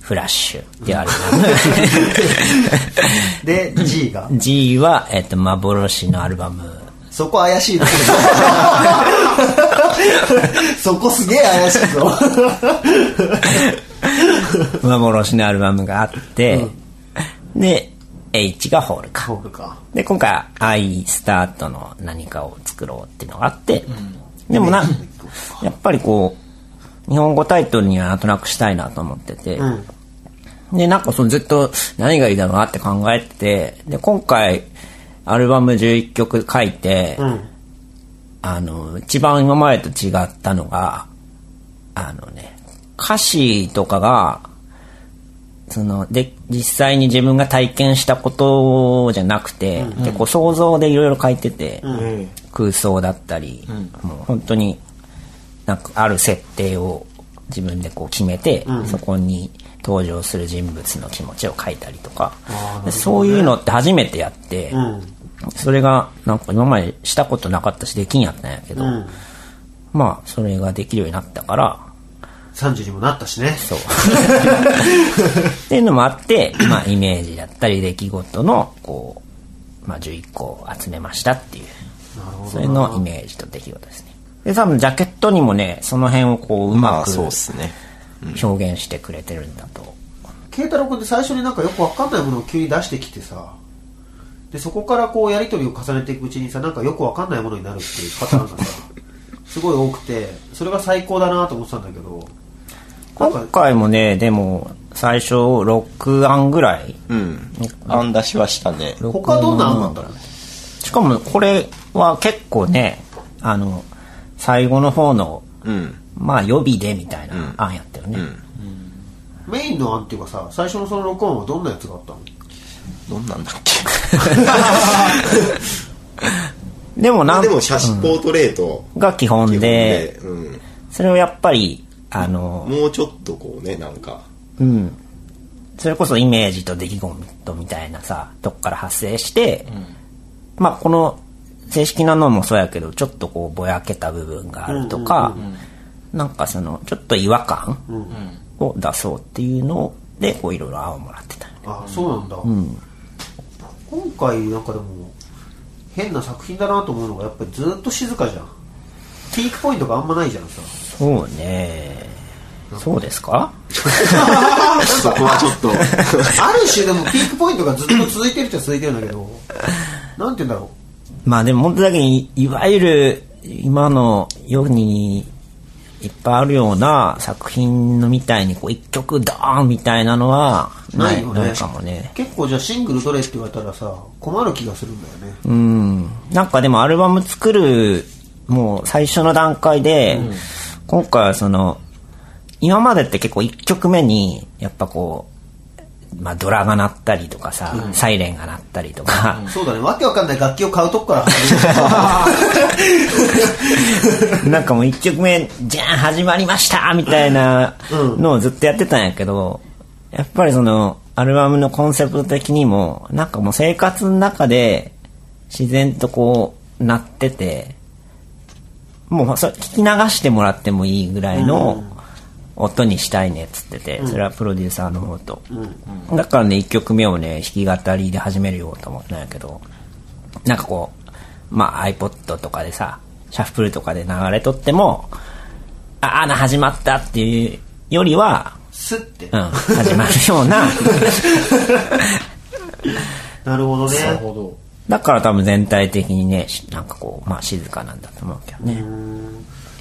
[SPEAKER 2] フラッシュっていうアル
[SPEAKER 1] で、G が
[SPEAKER 2] バ。ム、G は、えっと、幻のアルバム、
[SPEAKER 1] そこ怪しいな。そこすげえ怪しいぞ。
[SPEAKER 2] 幻のアルバムがあって、で、H がホールか。
[SPEAKER 1] ホールか。
[SPEAKER 2] で、今回、I スタートの何かを作ろうっていうのがあって、でもな、やっぱりこう、日本語タイトルにはなんとなくしたいなと思ってて、で、なんかそのずっと何がいいだろうなって考えてて、で、今回、アルバム11曲書いて、あの、一番今までと違ったのが、あのね、歌詞とかが、その、で、実際に自分が体験したことじゃなくて、結構想像でいろいろ書いてて、空想だったり、もう本当になんかある設定を自分でこう決めて、そこに登場する人物の気持ちを書いたりとか、でそういうのって初めてやって、それがなんか今までしたことなかったしできんやったんやけど、まあそれができるようになったから
[SPEAKER 1] 30にもなったしね。
[SPEAKER 2] そう。っていうのもあって、まあ、イメージだったり、出来事の、こう、まあ、11個を集めましたっていう。それのイメージと出来事ですね。で、多分、ジャケットにもね、その辺をこう、う
[SPEAKER 6] ま
[SPEAKER 2] ま
[SPEAKER 6] あ
[SPEAKER 2] く
[SPEAKER 6] そうっすね
[SPEAKER 2] 表現してくれてるんだと。
[SPEAKER 1] 慶太郎君って最初になんかよくわかんないものを急に出してきてさ、で、そこからこうやりとりを重ねていくうちにさ、なんかよくわかんないものになるっていうパターンがさ、すごい多くて、それが最高だなと思ってたんだけど、なん
[SPEAKER 2] 今
[SPEAKER 1] か、
[SPEAKER 2] 回もね、でも、最初、6案ぐらい。
[SPEAKER 6] うん案出しはしたね
[SPEAKER 1] 他どんな案なんだろう
[SPEAKER 2] しかも、これは結構ね、あの、最後の方の、
[SPEAKER 6] うん
[SPEAKER 2] まあ、予備でみたいな案やったよね。
[SPEAKER 1] メインの案っていうかさ、最初のその録音はどんなやつがあったの
[SPEAKER 6] どんなんだっけ
[SPEAKER 2] でも、なん
[SPEAKER 6] でも写真ポートレート
[SPEAKER 2] が基
[SPEAKER 6] 基
[SPEAKER 2] 本
[SPEAKER 6] 本
[SPEAKER 2] で
[SPEAKER 6] で、うん
[SPEAKER 2] それをやっぱり、あの、
[SPEAKER 6] もうちょっとこうねなんか
[SPEAKER 2] うん。それこそイメージと出来事みたいなさ、とこから発生して、まあこの正式なのもそうやけど、ちょっとこうぼやけた部分があるとか、なんかその、ちょっと違和感を出そうっていうので、こういろいろ青もらってた。
[SPEAKER 1] あそうなんだ、今回なんかでも変な作品だなと思うのがやっぱりずっと静かじゃんピークポイントがあんまないじゃんさ
[SPEAKER 2] そうねそうですか
[SPEAKER 6] そこはち ょっと
[SPEAKER 1] ある種でもピークポイントがずっと続いてるっちゃ続いてるんだけどなんて言うんだろ
[SPEAKER 2] まあでも本当だけに、いわゆる今の世にいっぱいあるような作品のみたいにこう一曲ドーンみたいなのは
[SPEAKER 1] う
[SPEAKER 2] な
[SPEAKER 1] ないいよね
[SPEAKER 2] ないかもね。
[SPEAKER 1] 結構じゃあシングルどれって言われたらさ困る気がするんだよね、
[SPEAKER 2] うん。なんかでもアルバム作るもう最初の段階で、今回はその、今までって結構一曲目にやっぱこう、まあドラが鳴ったりとかさ、サイレンが鳴ったりとか、
[SPEAKER 1] そうだねわけわかんない楽器を買うとこから 始める
[SPEAKER 2] なんかもう一曲目、じゃん始まりましたみたいなのをずっとやってたんやけど、やっぱりその、アルバムのコンセプト的にも、なんかもう生活の中で、自然とこう、なってて、もうそれ聞き流してもらってもいいぐらいの音にしたいねっつってて、それはプロデューサーの方と。だからね、一曲目をね、弾き語りで始めるよと思ったんやけど、なんかこう、まあ iPod とかでさ、シャッフルとかで流れとっても、あ、あ、始まったっていうよりは、
[SPEAKER 1] スッて、
[SPEAKER 2] うん、始まるような、
[SPEAKER 1] なるほどね
[SPEAKER 2] だから多分全体的にね、しなんかこう、まあ静かなんだと思うけどね。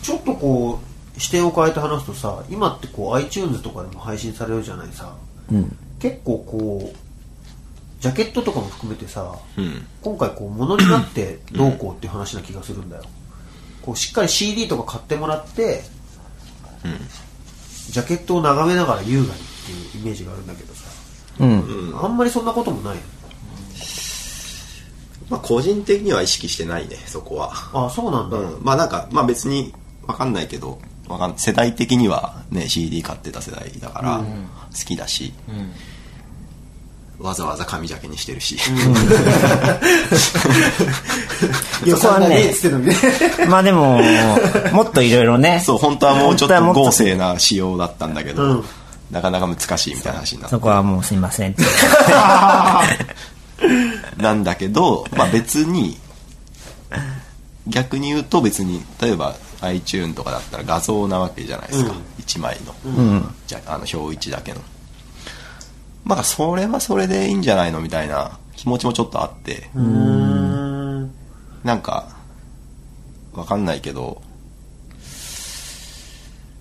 [SPEAKER 1] ちょっとこう視点を変えて話すとさ今ってこう iTunes とかでも配信されるじゃないさ、結構こうジャケットとかも含めてさ、今回こう物になってどうこうっていう話な気がするんだよ、こうしっかり CD とか買ってもらって、ジャケットを眺めながら優雅にっていうイメージがあるんだけどさ、あんまりそんなこともない
[SPEAKER 6] まあ個人的には意識してないねそこは
[SPEAKER 1] ああそうなんだ、
[SPEAKER 6] うん、まあなんか、まあ別にわかんないけど、わかん世代的にはね、CD 買ってた世代だから、好きだし、わざわざ紙ジャケにしてるし、
[SPEAKER 1] 予
[SPEAKER 2] そこは
[SPEAKER 1] 算
[SPEAKER 2] ね
[SPEAKER 1] がねえっつってんの にね
[SPEAKER 2] まあでも、もっといろいろね、
[SPEAKER 6] そう、本当はもうちょっと
[SPEAKER 2] 本当はも
[SPEAKER 6] 豪
[SPEAKER 2] っと
[SPEAKER 6] 勢な仕様だったんだけど、
[SPEAKER 1] うん
[SPEAKER 6] なかなか難しいみたいな話になっ
[SPEAKER 2] そこはもうすいませんって。
[SPEAKER 6] なんだけど、まあ別に、逆に言うと別に、例えば iTune とかだったら画像なわけじゃないですか。一1枚の。じゃあ、あの表1だけの。まあそれはそれでいいんじゃないのみたいな気持ちもちょっとあって。なんか、わかんないけど、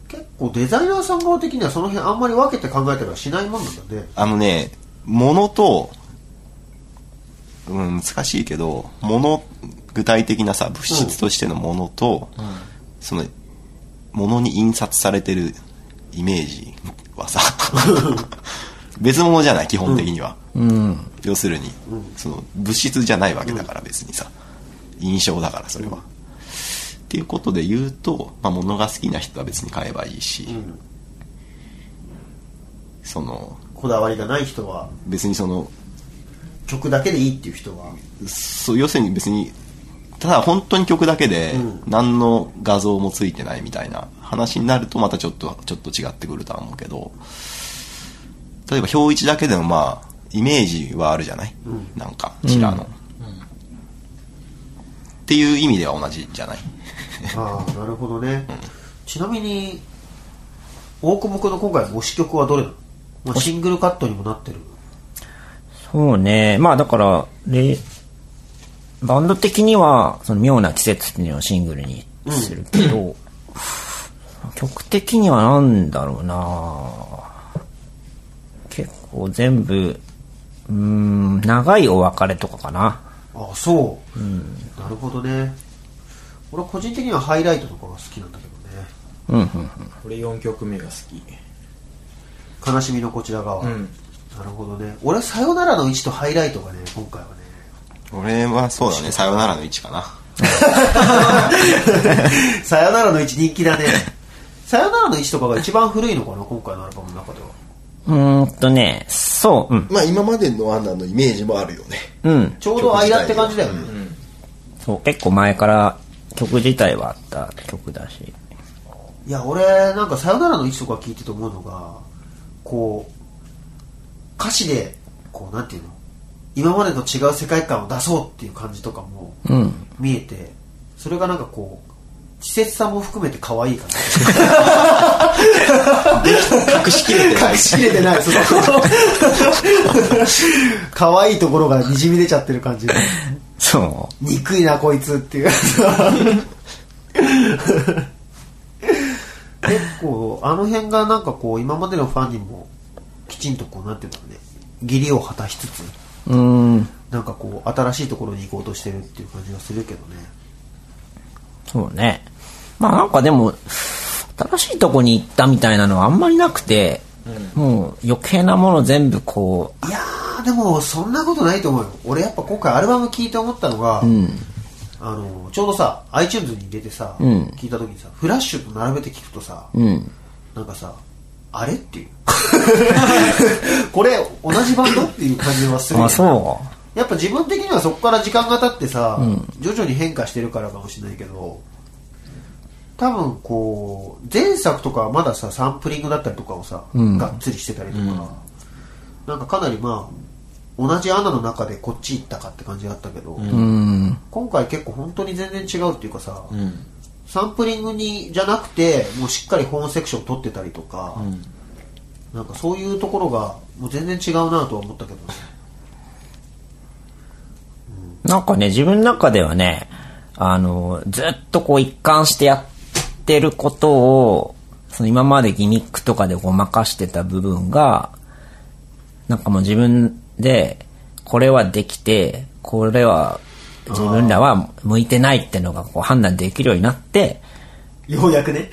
[SPEAKER 1] 結構デザイナーさん側的にはその辺あんまり分けて考えたりはしないもんなんだね
[SPEAKER 6] あのね、物と、うん、難しいけど、物、具体的なさ、物質としてのものと、その、物に印刷されてるイメージはさ、 別物じゃない、基本的には。要するに、その、物質じゃないわけだから、別にさ。印象だからそれは。っていうことで言うと、まあ、物が好きな人は別に買えばいいし、その
[SPEAKER 1] こだわりがない人は
[SPEAKER 6] 別にその
[SPEAKER 1] 曲だけでいいっていう人は
[SPEAKER 6] そう要するに別にただ本当に曲だけで何の画像もついてないみたいな話になるとまたちょっとちょっと違ってくるとは思うけど例えば表一だけでもまあイメージはあるじゃない、なんかちらの、っていう意味では同じじゃない
[SPEAKER 1] ああなるほどね、ちなみに大久保君の今回の推し曲はどれなの、まあ、シングルカットにもなってる
[SPEAKER 2] そうね。まあだから、れバンド的には、その妙な季節っていうのをシングルにするけど、曲的にはなんだろうな結構全部、うーん、長いお別れとかかな。
[SPEAKER 1] ああそう、なるほどね俺は個人的にはハイライトとかが好きなんだけどね
[SPEAKER 3] これ4曲目が好き
[SPEAKER 1] 悲しみのこちら側、
[SPEAKER 3] ん
[SPEAKER 1] なるほどね俺さよならの位置とハイライトがね今回はね
[SPEAKER 6] 俺はそうだねさよならの位置かな
[SPEAKER 1] さよならの位置人気だねさよならの位置とかが一番古いのかな今回のアルバムの中では
[SPEAKER 2] うーんとね、そう、うん、
[SPEAKER 6] まあ今までのアンナのイメージもあるよね
[SPEAKER 2] うん。
[SPEAKER 1] ちょうど間って感じだよね、
[SPEAKER 2] そう、結構前から曲自体はあった曲だし。
[SPEAKER 1] いや俺なんか「さよならの位置」とか聞いてて思うのがこう歌詞でこうなんていうの今までと違う世界観を出そうっていう感じとかも
[SPEAKER 2] うん。
[SPEAKER 1] 見えてそれがなんかこう稚拙さも含めて可愛いかな
[SPEAKER 6] 隠しきれてない
[SPEAKER 1] 隠しきれてないその可愛いところがにじみ出ちゃってる感じで
[SPEAKER 2] そ
[SPEAKER 1] 憎いなこいつっていう結構あの辺がなんかこう今までのファンにもきちんとこうなんていうのかね義理を果たしつつ
[SPEAKER 2] う。うーん。
[SPEAKER 1] なんかこう新しいところに行こうとしてるっていう感じがするけどね
[SPEAKER 2] そうね。まあなんかでも、新しいとこに行ったみたいなのはあんまりなくて、もう余計なもの全部こ
[SPEAKER 1] いやーでもそんなことないと思うよ俺やっぱ今回アルバム聴いて思ったのが、
[SPEAKER 2] う、うん。
[SPEAKER 1] あのちょうどさ iTunes に入れてさ、
[SPEAKER 2] うん
[SPEAKER 1] 聞いた時にさフラッシュと並べて聞くとさ、
[SPEAKER 2] うん。
[SPEAKER 1] なんかさあれ っていうこれ同じバンドっていう感じはするよ
[SPEAKER 2] あ、
[SPEAKER 1] ね
[SPEAKER 2] そ
[SPEAKER 1] やっぱ自分的にはそこから時間が経ってさ、徐々に変化してるからかもしれないけど多分こう前作とかはまださサンプリングだったりとかをさ、
[SPEAKER 2] ん
[SPEAKER 1] がっつりしてたりとか、なんかかなりまあ同じ穴の中でこっち行ったかって感じだったけど、
[SPEAKER 2] う。うん。
[SPEAKER 1] 今回結構本当に全然違うっていうかさ、
[SPEAKER 3] うん
[SPEAKER 1] サンプリングにじゃなくてもうしっかりホーンセクション取ってたりとか、
[SPEAKER 3] ん
[SPEAKER 1] なんかそういうところがもう全然違うなとは思ったけどね
[SPEAKER 2] なんかね、自分の中ではね、あの、ずっとこう一貫してやってることを、その今までギミックとかでごまかしてた部分が、なんかもう自分で、これはできて、これは自分らは向いてないってのがこう判断できるようになって、
[SPEAKER 1] ようやくね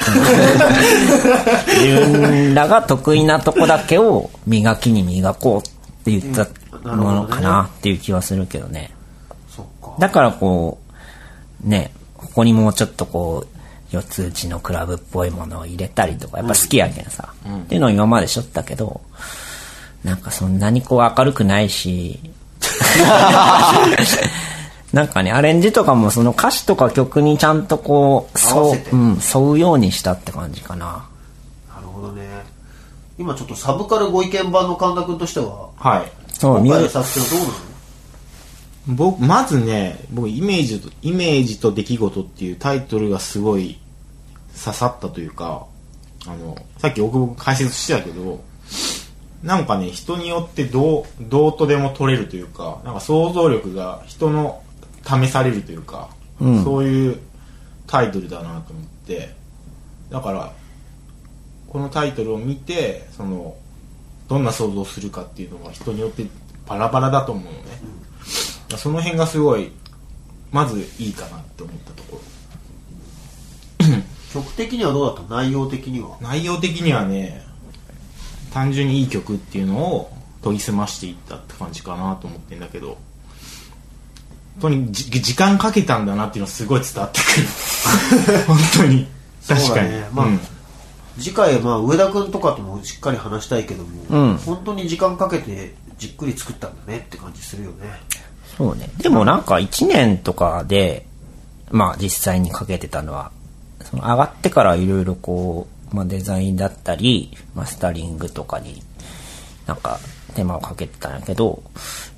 [SPEAKER 2] 自分らが得意なとこだけを磨きに磨こうって言ったものかなっていう気はするけどね。
[SPEAKER 1] そっか
[SPEAKER 2] だからこう、ね、ここにもうちょっとこう、四つ打ちのクラブっぽいものを入れたりとか、やっぱ好きやけんさ、っていうのを今までしょったけど、なんかそんなにこう明るくないし、 なんかね、アレンジとかもその歌詞とか曲にちゃんとこう、
[SPEAKER 1] 合わ
[SPEAKER 2] そ
[SPEAKER 1] せて
[SPEAKER 2] う、うん、沿うようにしたって感じかな。
[SPEAKER 1] なるほどね今ちょっとサブカルご意見版の神田君としては
[SPEAKER 3] はい
[SPEAKER 2] そう、
[SPEAKER 1] 今回
[SPEAKER 2] ミュー
[SPEAKER 1] の作品はどうなの
[SPEAKER 3] 僕まずね僕イメージと「イメージと出来事」っていうタイトルがすごい刺さったというかあのさっき大久保君解説してたけどなんかね人によってどうどうとでも取れるというかなんか想像力が人の試されるというか、そういうタイトルだなと思ってだからこのタイトルを見てそのどんな想像をするかっていうのが人によってバラバラだと思うのね、その辺がすごいまずいいかなって思ったところ
[SPEAKER 1] 曲的にはどうだった内容的には
[SPEAKER 3] 内容的にはね単純にいい曲っていうのを研ぎ澄ましていったって感じかなと思ってんだけど当にじ時間かけたんだなっていうのはすごい伝わって くる本当に確
[SPEAKER 1] そう
[SPEAKER 3] か
[SPEAKER 1] だ
[SPEAKER 3] に、
[SPEAKER 1] ねまあ
[SPEAKER 3] うん
[SPEAKER 1] 次回、まあ、上田君とかともしっかり話したいけども、
[SPEAKER 2] うん
[SPEAKER 1] 本当に時間かけてじっくり作ったんだねって感じするよね
[SPEAKER 2] そうね。でもなんか1年とかで、まあ実際にかけてたのは、その上がってからいろいろこう、まあデザインだったり、マスタリングとかに、なんか手間をかけてたんやけど、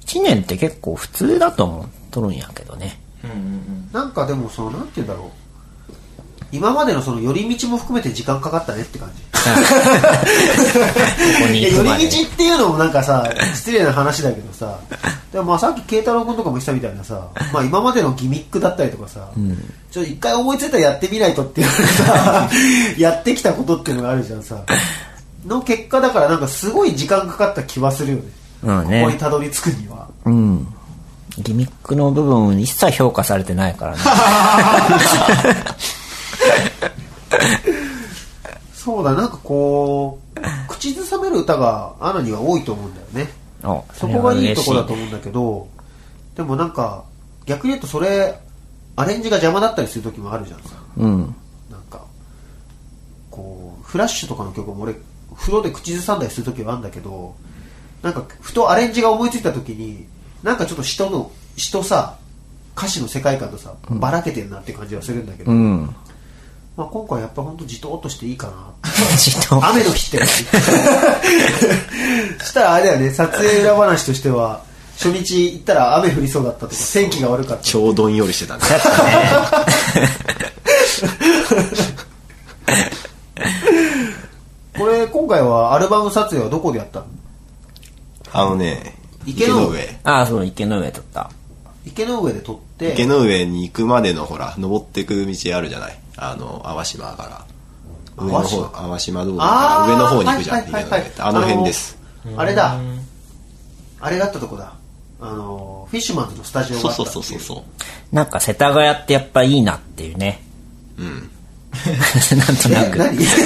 [SPEAKER 2] 1年って結構普通だと思っとるんやけどね。
[SPEAKER 1] なんかでもそのなんて言うんだろう今までのその寄り道も含めて時間かかったねって感じ
[SPEAKER 2] ここに
[SPEAKER 1] いや
[SPEAKER 2] 行
[SPEAKER 1] 寄
[SPEAKER 2] くまで
[SPEAKER 1] り。道っていうのもなんかさ失礼な話だけどさでもまあさっき慶太郎君とかも言ってたみたいなさ、まあ、今までのギミックだったりとかさ、ちょっと一回思いついたらやってみないとっていうさ やってきたことっていうのがあるじゃんさの結果だからなんかすごい時間かかった気はするよね,、
[SPEAKER 2] うんね
[SPEAKER 1] ここにたどり着くには
[SPEAKER 2] うん。ギミックの部分一切評価されてないからね。
[SPEAKER 1] そうだなんかこう口ずさめる歌がアナには多いと思うんだよね
[SPEAKER 2] お
[SPEAKER 1] そこがいいとこだと
[SPEAKER 2] う。
[SPEAKER 1] 思うんだけどでもなんか逆に言うとそれアレンジが邪魔だったりする時もあるじゃんさ
[SPEAKER 2] うん。
[SPEAKER 1] なんかこうフラッシュとかの曲も俺風呂で口ずさんだりする時はあるんだけどなんかふとアレンジが思いついた時になんかちょっと人の人さ歌詞の世界観とさばらけてるなって感じはするんだけど、
[SPEAKER 2] うん。
[SPEAKER 1] まあ、今回やっぱ本当じとっとしていいかな
[SPEAKER 2] 自動
[SPEAKER 1] 雨の日って したらあれだよね撮影裏話としては初日行ったら雨降りそうだったとか天気が悪かった
[SPEAKER 6] ちょうどんよりしてたね。
[SPEAKER 1] これ今回はアルバム撮影はどこでやったの
[SPEAKER 6] あのね、
[SPEAKER 1] 池
[SPEAKER 6] 池
[SPEAKER 1] の
[SPEAKER 6] の
[SPEAKER 1] 上
[SPEAKER 6] 上。
[SPEAKER 2] ああ、そう、池の上撮った。
[SPEAKER 1] 池の上で撮って
[SPEAKER 6] 池の上に行くまでのほら、登ってく道あるじゃない。あの、淡島から。上の
[SPEAKER 1] 淡島
[SPEAKER 6] 方、淡島道路
[SPEAKER 1] あ
[SPEAKER 6] か
[SPEAKER 1] ー
[SPEAKER 6] ら上の方に行くじゃ
[SPEAKER 1] は
[SPEAKER 6] ん。
[SPEAKER 1] いはいはいはい
[SPEAKER 6] 池の上ってあの辺です。
[SPEAKER 1] あれだあれだったとこだあのフィッシュマンズのスタジオが
[SPEAKER 6] そ
[SPEAKER 1] あ
[SPEAKER 6] う
[SPEAKER 1] った
[SPEAKER 6] そ
[SPEAKER 1] っ
[SPEAKER 6] う
[SPEAKER 1] てい
[SPEAKER 6] そうそうそう。
[SPEAKER 2] なんか世田谷ってやっぱいいなっていうね。
[SPEAKER 6] うん。
[SPEAKER 2] なんとな
[SPEAKER 1] え
[SPEAKER 2] く。
[SPEAKER 1] 何 セ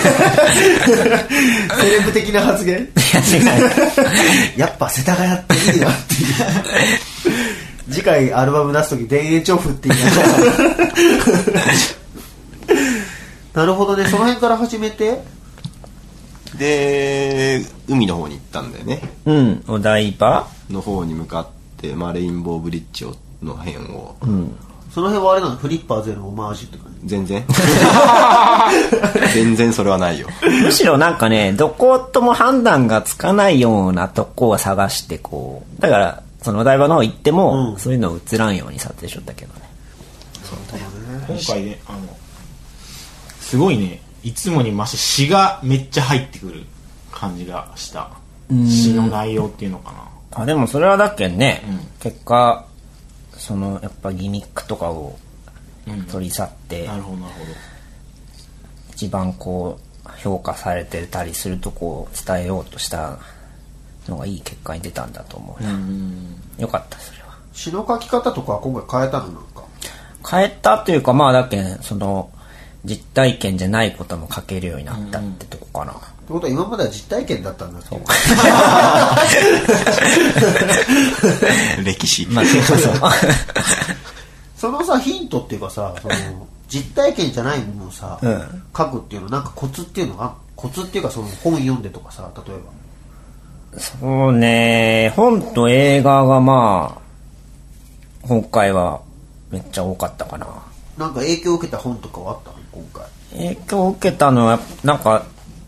[SPEAKER 1] レブ的な発言やっぱ世田谷っていいなっていう次回アルバム出す時田園調布って言いましょうなるほどねその辺から始めて
[SPEAKER 6] で、海の方に行ったんだよね。
[SPEAKER 2] うん、お台場
[SPEAKER 6] の方に向かって、まあ、レインボーブリッジをの辺を、
[SPEAKER 1] その辺はあれなのフリッパーズへのオマージュって感じ
[SPEAKER 6] 全 然全然それはないよ
[SPEAKER 2] むしろなんかね、どことも判断がつかないようなとこを探してこう。だから、そのお台場の方行っても、
[SPEAKER 1] うん
[SPEAKER 2] そういうの映らんように撮影しよったけどね。
[SPEAKER 3] 今回ねあのすごいねいつもに増して詩がめっちゃ入ってくる感じがした詩の内容っていうのかな
[SPEAKER 2] あ、でもそれはだっけんね、結果、その、やっぱギミックとかを取り去って、
[SPEAKER 3] なるほどなるほ
[SPEAKER 2] 一番こう、評価されてたりするとこを伝えようとしたのがいい結果に出たんだと思うな。よかった、それは。
[SPEAKER 1] 詩の書き方とかは今回変えたのなんか
[SPEAKER 2] 変えたというかまあだけんその実体験じゃないことも書けるようになったってとこかな、
[SPEAKER 1] ってことは今までは実体験だったんだっていう
[SPEAKER 6] 歴史、
[SPEAKER 2] まあそうそう
[SPEAKER 1] そのさヒントっていうかさその実体験じゃないものをさ、
[SPEAKER 2] うん
[SPEAKER 1] 書くっていうのなんかコツっていうのがコツっていうかその本読んでとかさ例えば
[SPEAKER 2] そうね本と映画がまあ今回はめっちゃ多かったかな
[SPEAKER 1] なんか影響を受けた本とかはあったの今回
[SPEAKER 2] 影響を受けたのはなんか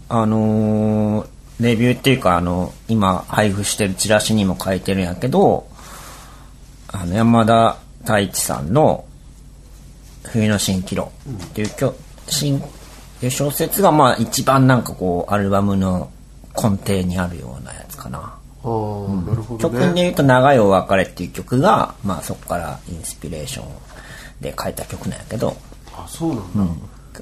[SPEAKER 2] あのーレビューっていうかあの今配布してるチラシにも書いてるんやけどあの山田太一さんの「冬の蜃気楼」っていうきょ新っていう小説がまあ一番なんかこうアルバムの根底にあるようなやつかな
[SPEAKER 1] ああ、なるほ
[SPEAKER 2] 曲で言うと「長いお別れ」っていう曲が、まあ、そこからインスピレーションで書いた曲なんやけど
[SPEAKER 1] あそうなんだ、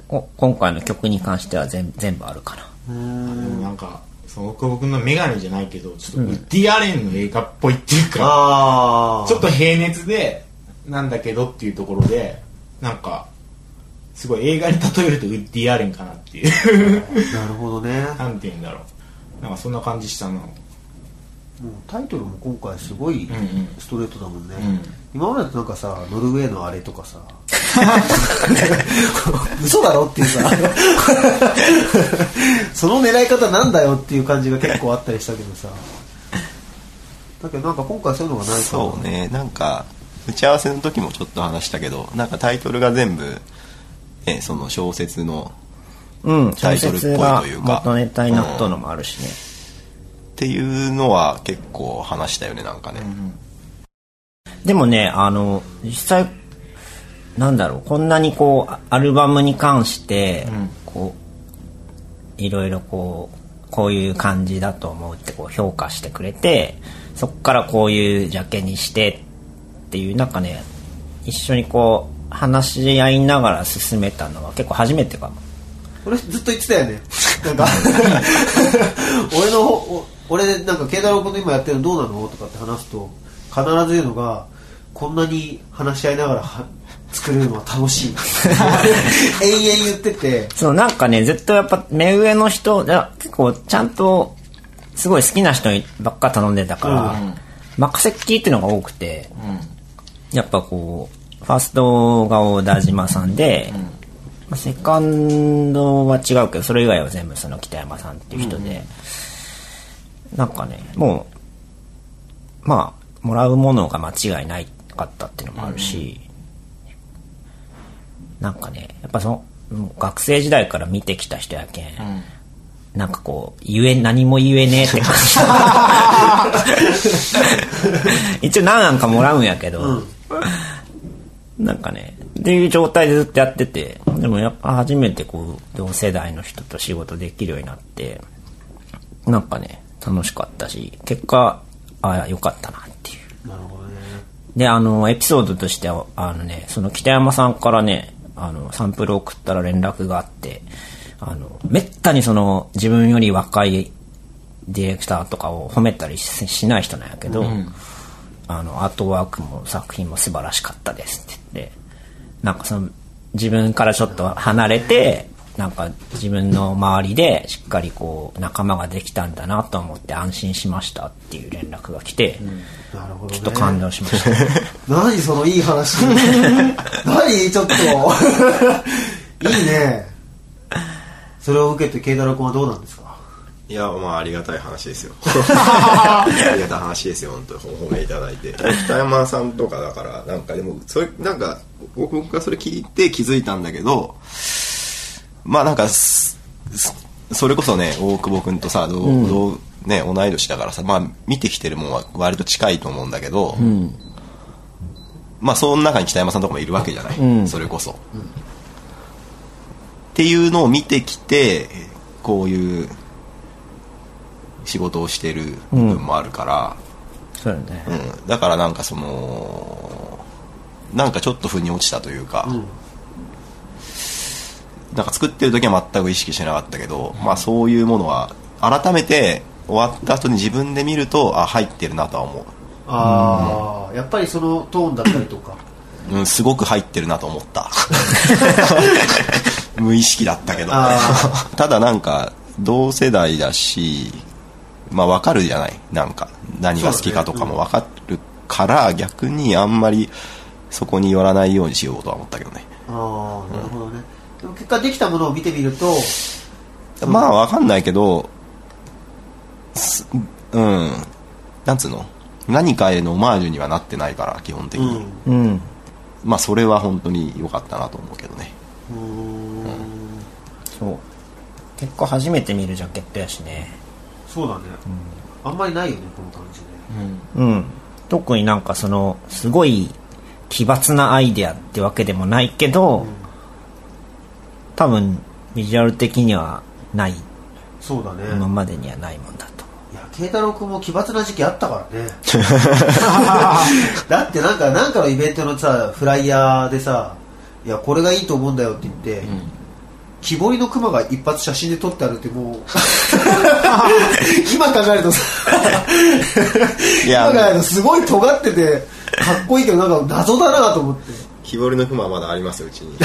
[SPEAKER 2] こ今回の曲に関しては全全部あるかな
[SPEAKER 3] どでもなんかその僕僕の眼鏡じゃないけどちょっとウッディ・アレンの映画っぽいっていうか、
[SPEAKER 1] ああ
[SPEAKER 3] ちょっと平熱でなんだけどっていうところでなんかすごい映画に例えるとウッディ・アレンかなっていう
[SPEAKER 1] なるほどね
[SPEAKER 3] なんて言うんだろうなんかそんな感じしたな
[SPEAKER 1] もうタイトルも今回すごいストレートだもんね、
[SPEAKER 3] ん
[SPEAKER 1] 今までだとなんかさノルウェーのあれとかさ 嘘だろっていうさ その狙い方なんだよっていう感じが結構あったりしたけどさだけどなんか今回そういうのがないから
[SPEAKER 6] そうねなんか打ち合わせの時もちょっと話したけどなんかタイトルが全部、ね、その小説の
[SPEAKER 2] うん、
[SPEAKER 6] タイトルっぽいというか
[SPEAKER 2] 小説が元ネタになったのもあるしね。
[SPEAKER 6] っていうのは結構話したよねなんかね、
[SPEAKER 2] でもね、あの、実際、なんだろう、こんなにこう、アアルバムに関して、こう、いろいろこう、こういう感じだと思うってこう評価してくれて、そこからこういうジャケにしてっていう、なんかね、一緒にこう、話し合いながら進めたのは結構初めてかも。
[SPEAKER 1] 俺ずっと言ってたよねなんか 俺のお俺なんか慶太郎君と今やってるのどうなのとかって話すと必ず言うのがこんなに話し合いながらは作れるのは楽しい 延々言ってて
[SPEAKER 2] そう、なんかね、ずっとやっぱ目上の人、いや結構ちゃんと、すごい好きな人ばっか頼んでたから、任せっきりっていうのが多くて、やっぱこう、ファーストが小田島さんで、まあセカンドは違うけど、それ以外は全部その北山さんっていう人で、なんかね、もう、まあ、もらうものが間違いないかったっていうのもあるし、なんかね、やっぱその、もう学生時代から見てきた人やけん、なんかこう、言え、何も言えねえって感じ。一応何案かもらうんやけど、なんかね、っていう状態でずっとやってて、でもやっぱ初めてこう、同世代の人と仕事できるようになって、なんかね、楽しかったし、結果、ああ、よかったなっていう。
[SPEAKER 1] なるほどね
[SPEAKER 2] で、あの、エピソードとしては、あのね、その北山さんからね、あの、サンプルを送ったら連絡があって、あの、めったにその、自分より若いディレクターとかを褒めたりししない人なんやけど、あの、アートワークも作品も素晴らしかったですって言って、なんかその、自分からちょっと離れて、なんか自分の周りでしっかりこう仲間ができたんだなと思って安心しましたっていう連絡が来て、
[SPEAKER 1] なるほど
[SPEAKER 2] ち
[SPEAKER 1] ね
[SPEAKER 2] ょっと感動しました。
[SPEAKER 1] 何そのいい話 何ちょっと いいねそれを受けて慶太郎君はどうなんですか
[SPEAKER 6] いやまあありがたい話 ですよありがたい話ですよ本当にお褒めいただいて北山さんとかだからなんかでもそれなんか僕僕がそれ聞いて気づいたんだけどまあなんかすすそれこそね大久保君とさどう、どうね同い年だからさまあ見てきてるもんは割と近いと思うんだけど、まあその中に北山さんとかもいるわけじゃない、それこそ、っていうのを見てきてこういう仕事をしてる部分もあるから、
[SPEAKER 2] そうよね。
[SPEAKER 6] うんだからなんかそのなんかちょっと腑に落ちたというか、なんか作ってる時は全く意識してなかったけど、まあそういうものは改めて終わった後に自分で見るとあ入ってるなとは思
[SPEAKER 1] ああ、やっぱりそのトーンだったりとか
[SPEAKER 6] う、うん、すごく入ってるなと思った 無意識だったけど
[SPEAKER 1] あ
[SPEAKER 6] ただなんか同世代だしまあ分かるじゃないなんか何が好きかとかも分かるから、逆にあんまりそこに寄らないようにしようとは思ったけどね
[SPEAKER 1] ああなるほどね、でも結果できたものを見てみると
[SPEAKER 6] まあ分かんないけどすうんなんつうの何かへのオマージュにはなってないから基本的
[SPEAKER 1] うん
[SPEAKER 6] に、
[SPEAKER 1] う
[SPEAKER 2] うん。
[SPEAKER 6] まあそれは本当に良かったなと思うけど ね
[SPEAKER 1] ーん
[SPEAKER 2] そう。結構初めて見るジャケットやしね。
[SPEAKER 1] そうだね、あんまりないよねこの感じね、
[SPEAKER 2] うん。特になんかその、すごい奇抜なアイデアってわけでもないけど、多分、ビジュアル的にはない、
[SPEAKER 1] そうだね、
[SPEAKER 2] 今までにはないもんだと。
[SPEAKER 1] いや慶太郎君も奇抜な時期あったから ねだってなんかなんかのイベントのさフライヤーでさ「いやこれがいいと思うんだよ」って言って、木彫りの熊が一発写真で撮ってあるって もう今考えるとさ
[SPEAKER 6] いや
[SPEAKER 1] 今考えるとすごい尖っててかっこいいけどなんか謎だなと思って
[SPEAKER 6] 木彫りの熊はまだありますようち に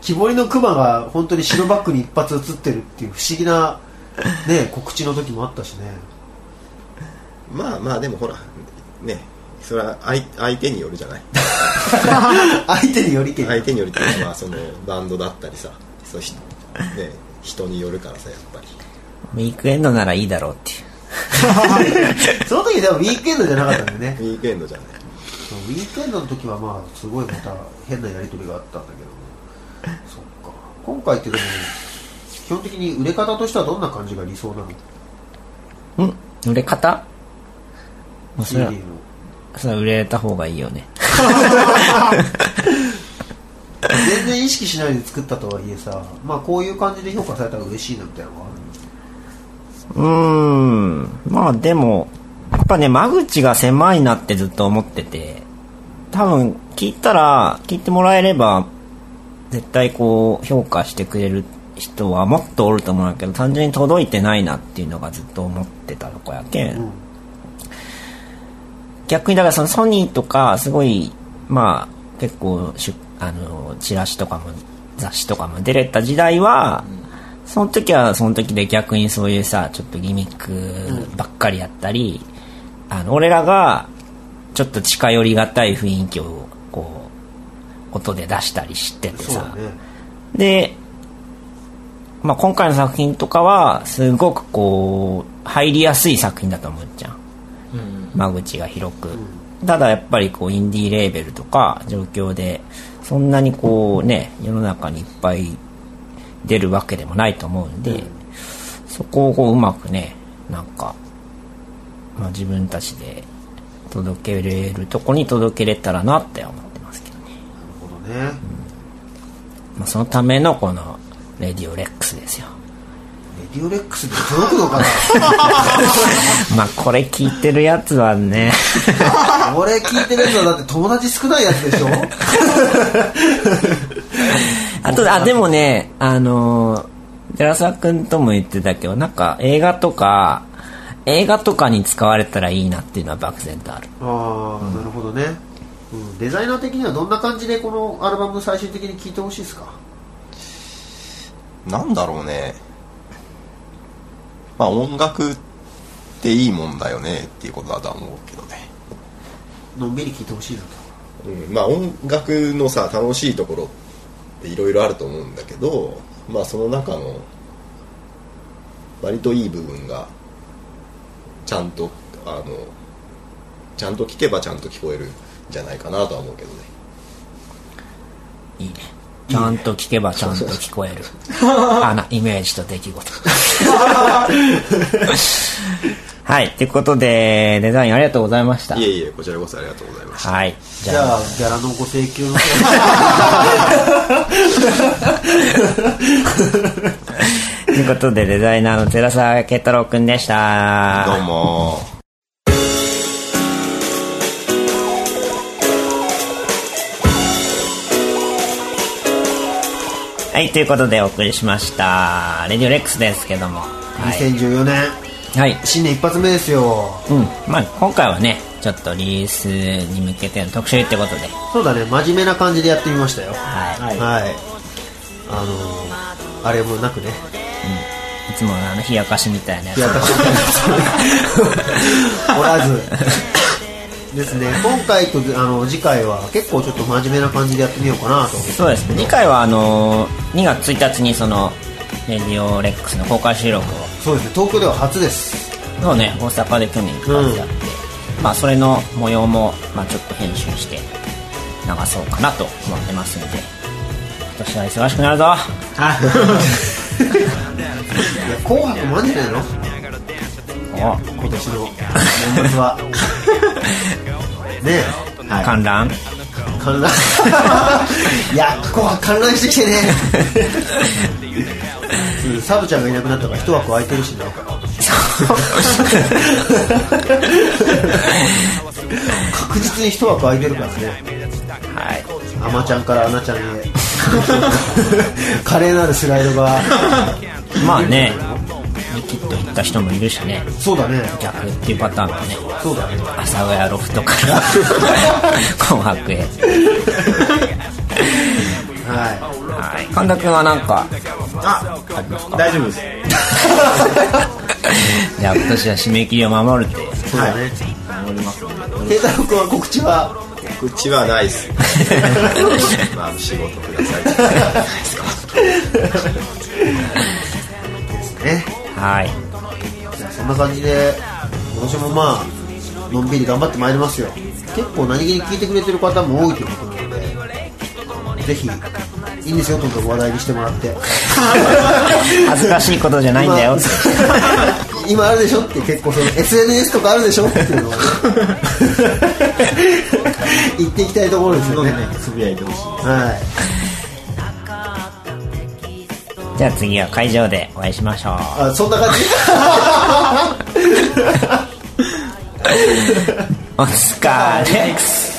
[SPEAKER 1] 木彫りの熊が本当に白バックに一発写ってるっていう不思議なね告知の時もあったしね
[SPEAKER 6] まあまあでもほらねそれは相相手によるじゃない
[SPEAKER 1] 相手によりけり
[SPEAKER 6] 相手によるっていうかまあそのバンドだったりさそうひ、ね、人によるからさやっぱり
[SPEAKER 2] ウィークエンドならいいだろうっていう。
[SPEAKER 1] その時でもウィークエンドじゃなかったん でね
[SPEAKER 6] ウィークエンドじゃない
[SPEAKER 1] そうウィークエンドの時はまあすごいまた変なやり取りがあったんだけどそっか今回ってでも基本的に売れ方としてはどんな感じが理想なの
[SPEAKER 2] うん売れ方まあそ
[SPEAKER 1] CD
[SPEAKER 2] れ
[SPEAKER 1] の
[SPEAKER 2] は、それは売れた方がいいよね。
[SPEAKER 1] 全然意識しないで作ったとはいえさまあこういう感じで評価されたら嬉しいなみたいなのがある
[SPEAKER 2] うーん。まあでも、やっぱね、間口が狭いなってずっと思ってて、多分聞いたら、聞いてもらえれば、絶対こう、評価してくれる人はもっとおると思うんやけど、単純に届いてないなっていうのがずっと思ってたとこやけん。
[SPEAKER 1] うん
[SPEAKER 2] 逆にだからそのソニーとかすごいまあ結構しゅあのチラシとかも雑誌とかも出れた時代は、その時はその時で逆にそういうさちょっとギミックばっかりやったり、あの俺らがちょっと近寄りがたい雰囲気をこう音で出したりしてて
[SPEAKER 1] そう
[SPEAKER 2] さ
[SPEAKER 1] だ、ね
[SPEAKER 2] で、まあ、今回の作品とかはすごくこう入りやすい作品だと思うじゃん、間口が広く、ただやっぱりこうインディーレーベルとか状況でそんなにこうね世の中にいっぱい出るわけでもないと思うんで、そこをこううまくねなんか、まあ、自分たちで届けれるとこに届けれたらなって思ってますけどね、
[SPEAKER 1] なるほどね
[SPEAKER 2] まあ、そのためのこの「レディオレックス」ですよ
[SPEAKER 1] レディオレックスで届くのかな
[SPEAKER 2] まあこれ聞いてるやつはね
[SPEAKER 1] 俺聞いてるやつはだって友達少ないやつでしょ
[SPEAKER 2] あとあでもねあのー寺澤君とも言ってたけどなんか映画とか映画とかに使われたらいいなっていうのは漠然とある
[SPEAKER 1] ああ、なるほどね、うん、デザイナー的にはどんな感じでこのアルバム最終的に聴いてほしいですか
[SPEAKER 6] なんだろうねまあ音楽っていいもんだよねっていうことだとは思うけどね、
[SPEAKER 1] のんびり聴いてほしいなと
[SPEAKER 6] うん、まあ音楽のさ楽しいところっていろいろあると思うんだけどまあその中の割といい部分がちゃんとあのちゃんと聞けばちゃんと聞こえるんじゃないかなとは思うけどね
[SPEAKER 2] いいねちゃんと聞けばちゃんと聞こえるあのイメージと出来事はいということでデザインありがとうございました
[SPEAKER 6] いえいえこちらこそありがとうございました
[SPEAKER 2] はいじ
[SPEAKER 1] じ
[SPEAKER 2] ゃ
[SPEAKER 1] ゃ
[SPEAKER 2] あ
[SPEAKER 1] あギャラのご請求の方
[SPEAKER 2] ということでデザイナーの寺澤慶太郎君でした
[SPEAKER 6] どうも
[SPEAKER 2] はい、ということでお送りしました。レディオレックスですけども。はい。
[SPEAKER 1] 2014年
[SPEAKER 2] はい。
[SPEAKER 1] 新年一発目ですよ
[SPEAKER 2] うん。まあ、今回はね、ちょっとリリースに向けての特集ってことで。
[SPEAKER 1] そうだね真面目な感じでやってみましたよは
[SPEAKER 2] はい。
[SPEAKER 1] い、あのー、あれもなくね
[SPEAKER 2] いつものあの、冷やかしみたいなやつ。
[SPEAKER 1] おらずですね今回とあの次回は結構ちょっと真面目な感じでやってみようかなと
[SPEAKER 2] そうですね。次回はあのー、2月1日にその、レディオレックスの公開収録を、
[SPEAKER 1] そうですね東京では初です
[SPEAKER 2] のね、大阪で去年一発やって、まあ、それの模様も、まあ、ちょっと編集して、流そうかなと思ってますんで、今年は忙しくなるぞ
[SPEAKER 1] いや紅白もあんじゃないの
[SPEAKER 2] お
[SPEAKER 1] 今年の年末はね
[SPEAKER 3] はい
[SPEAKER 2] 観覧
[SPEAKER 1] え観覧 いやここは観覧してきてねうんサブちゃんがいなくなったから一枠空いてるしな確実に一枠空いてるからね
[SPEAKER 2] はい。
[SPEAKER 1] アマちゃんからアナちゃんへ 華麗なるスライドが
[SPEAKER 2] まあね、リキッド行った人もいるしね、
[SPEAKER 1] そうだね
[SPEAKER 2] 逆っていうパターンもね、
[SPEAKER 1] そうだね
[SPEAKER 2] 阿佐ヶ谷ロフトから紅白へ。
[SPEAKER 1] はい
[SPEAKER 2] はい。神田君はなんか、
[SPEAKER 3] あ大丈夫です
[SPEAKER 2] じゃあ今年は締め切りを守るって。
[SPEAKER 3] そうだね守りますね
[SPEAKER 1] 慶太郎君は告知は
[SPEAKER 6] 口はないっ すまあ仕事ください
[SPEAKER 1] ね
[SPEAKER 2] はい。
[SPEAKER 1] じゃあそんな感じで今年もまあのんびり頑張ってまいりますよ結構何気に聞いてくれてる方も多いということなのでぜひいいんですよどんどん話題にしてもらって
[SPEAKER 2] 恥ずかしいことじゃないんだよ。
[SPEAKER 1] 今 今あるでしょって結構その SNS とかあるでしょっていうのを ね言っていきたいところです
[SPEAKER 3] ど
[SPEAKER 1] よね
[SPEAKER 3] んどんねつぶやいてほしい
[SPEAKER 1] はい
[SPEAKER 2] じゃあ次は会場でお会いしましょう。
[SPEAKER 1] あそんな感じ
[SPEAKER 2] お疲れっす。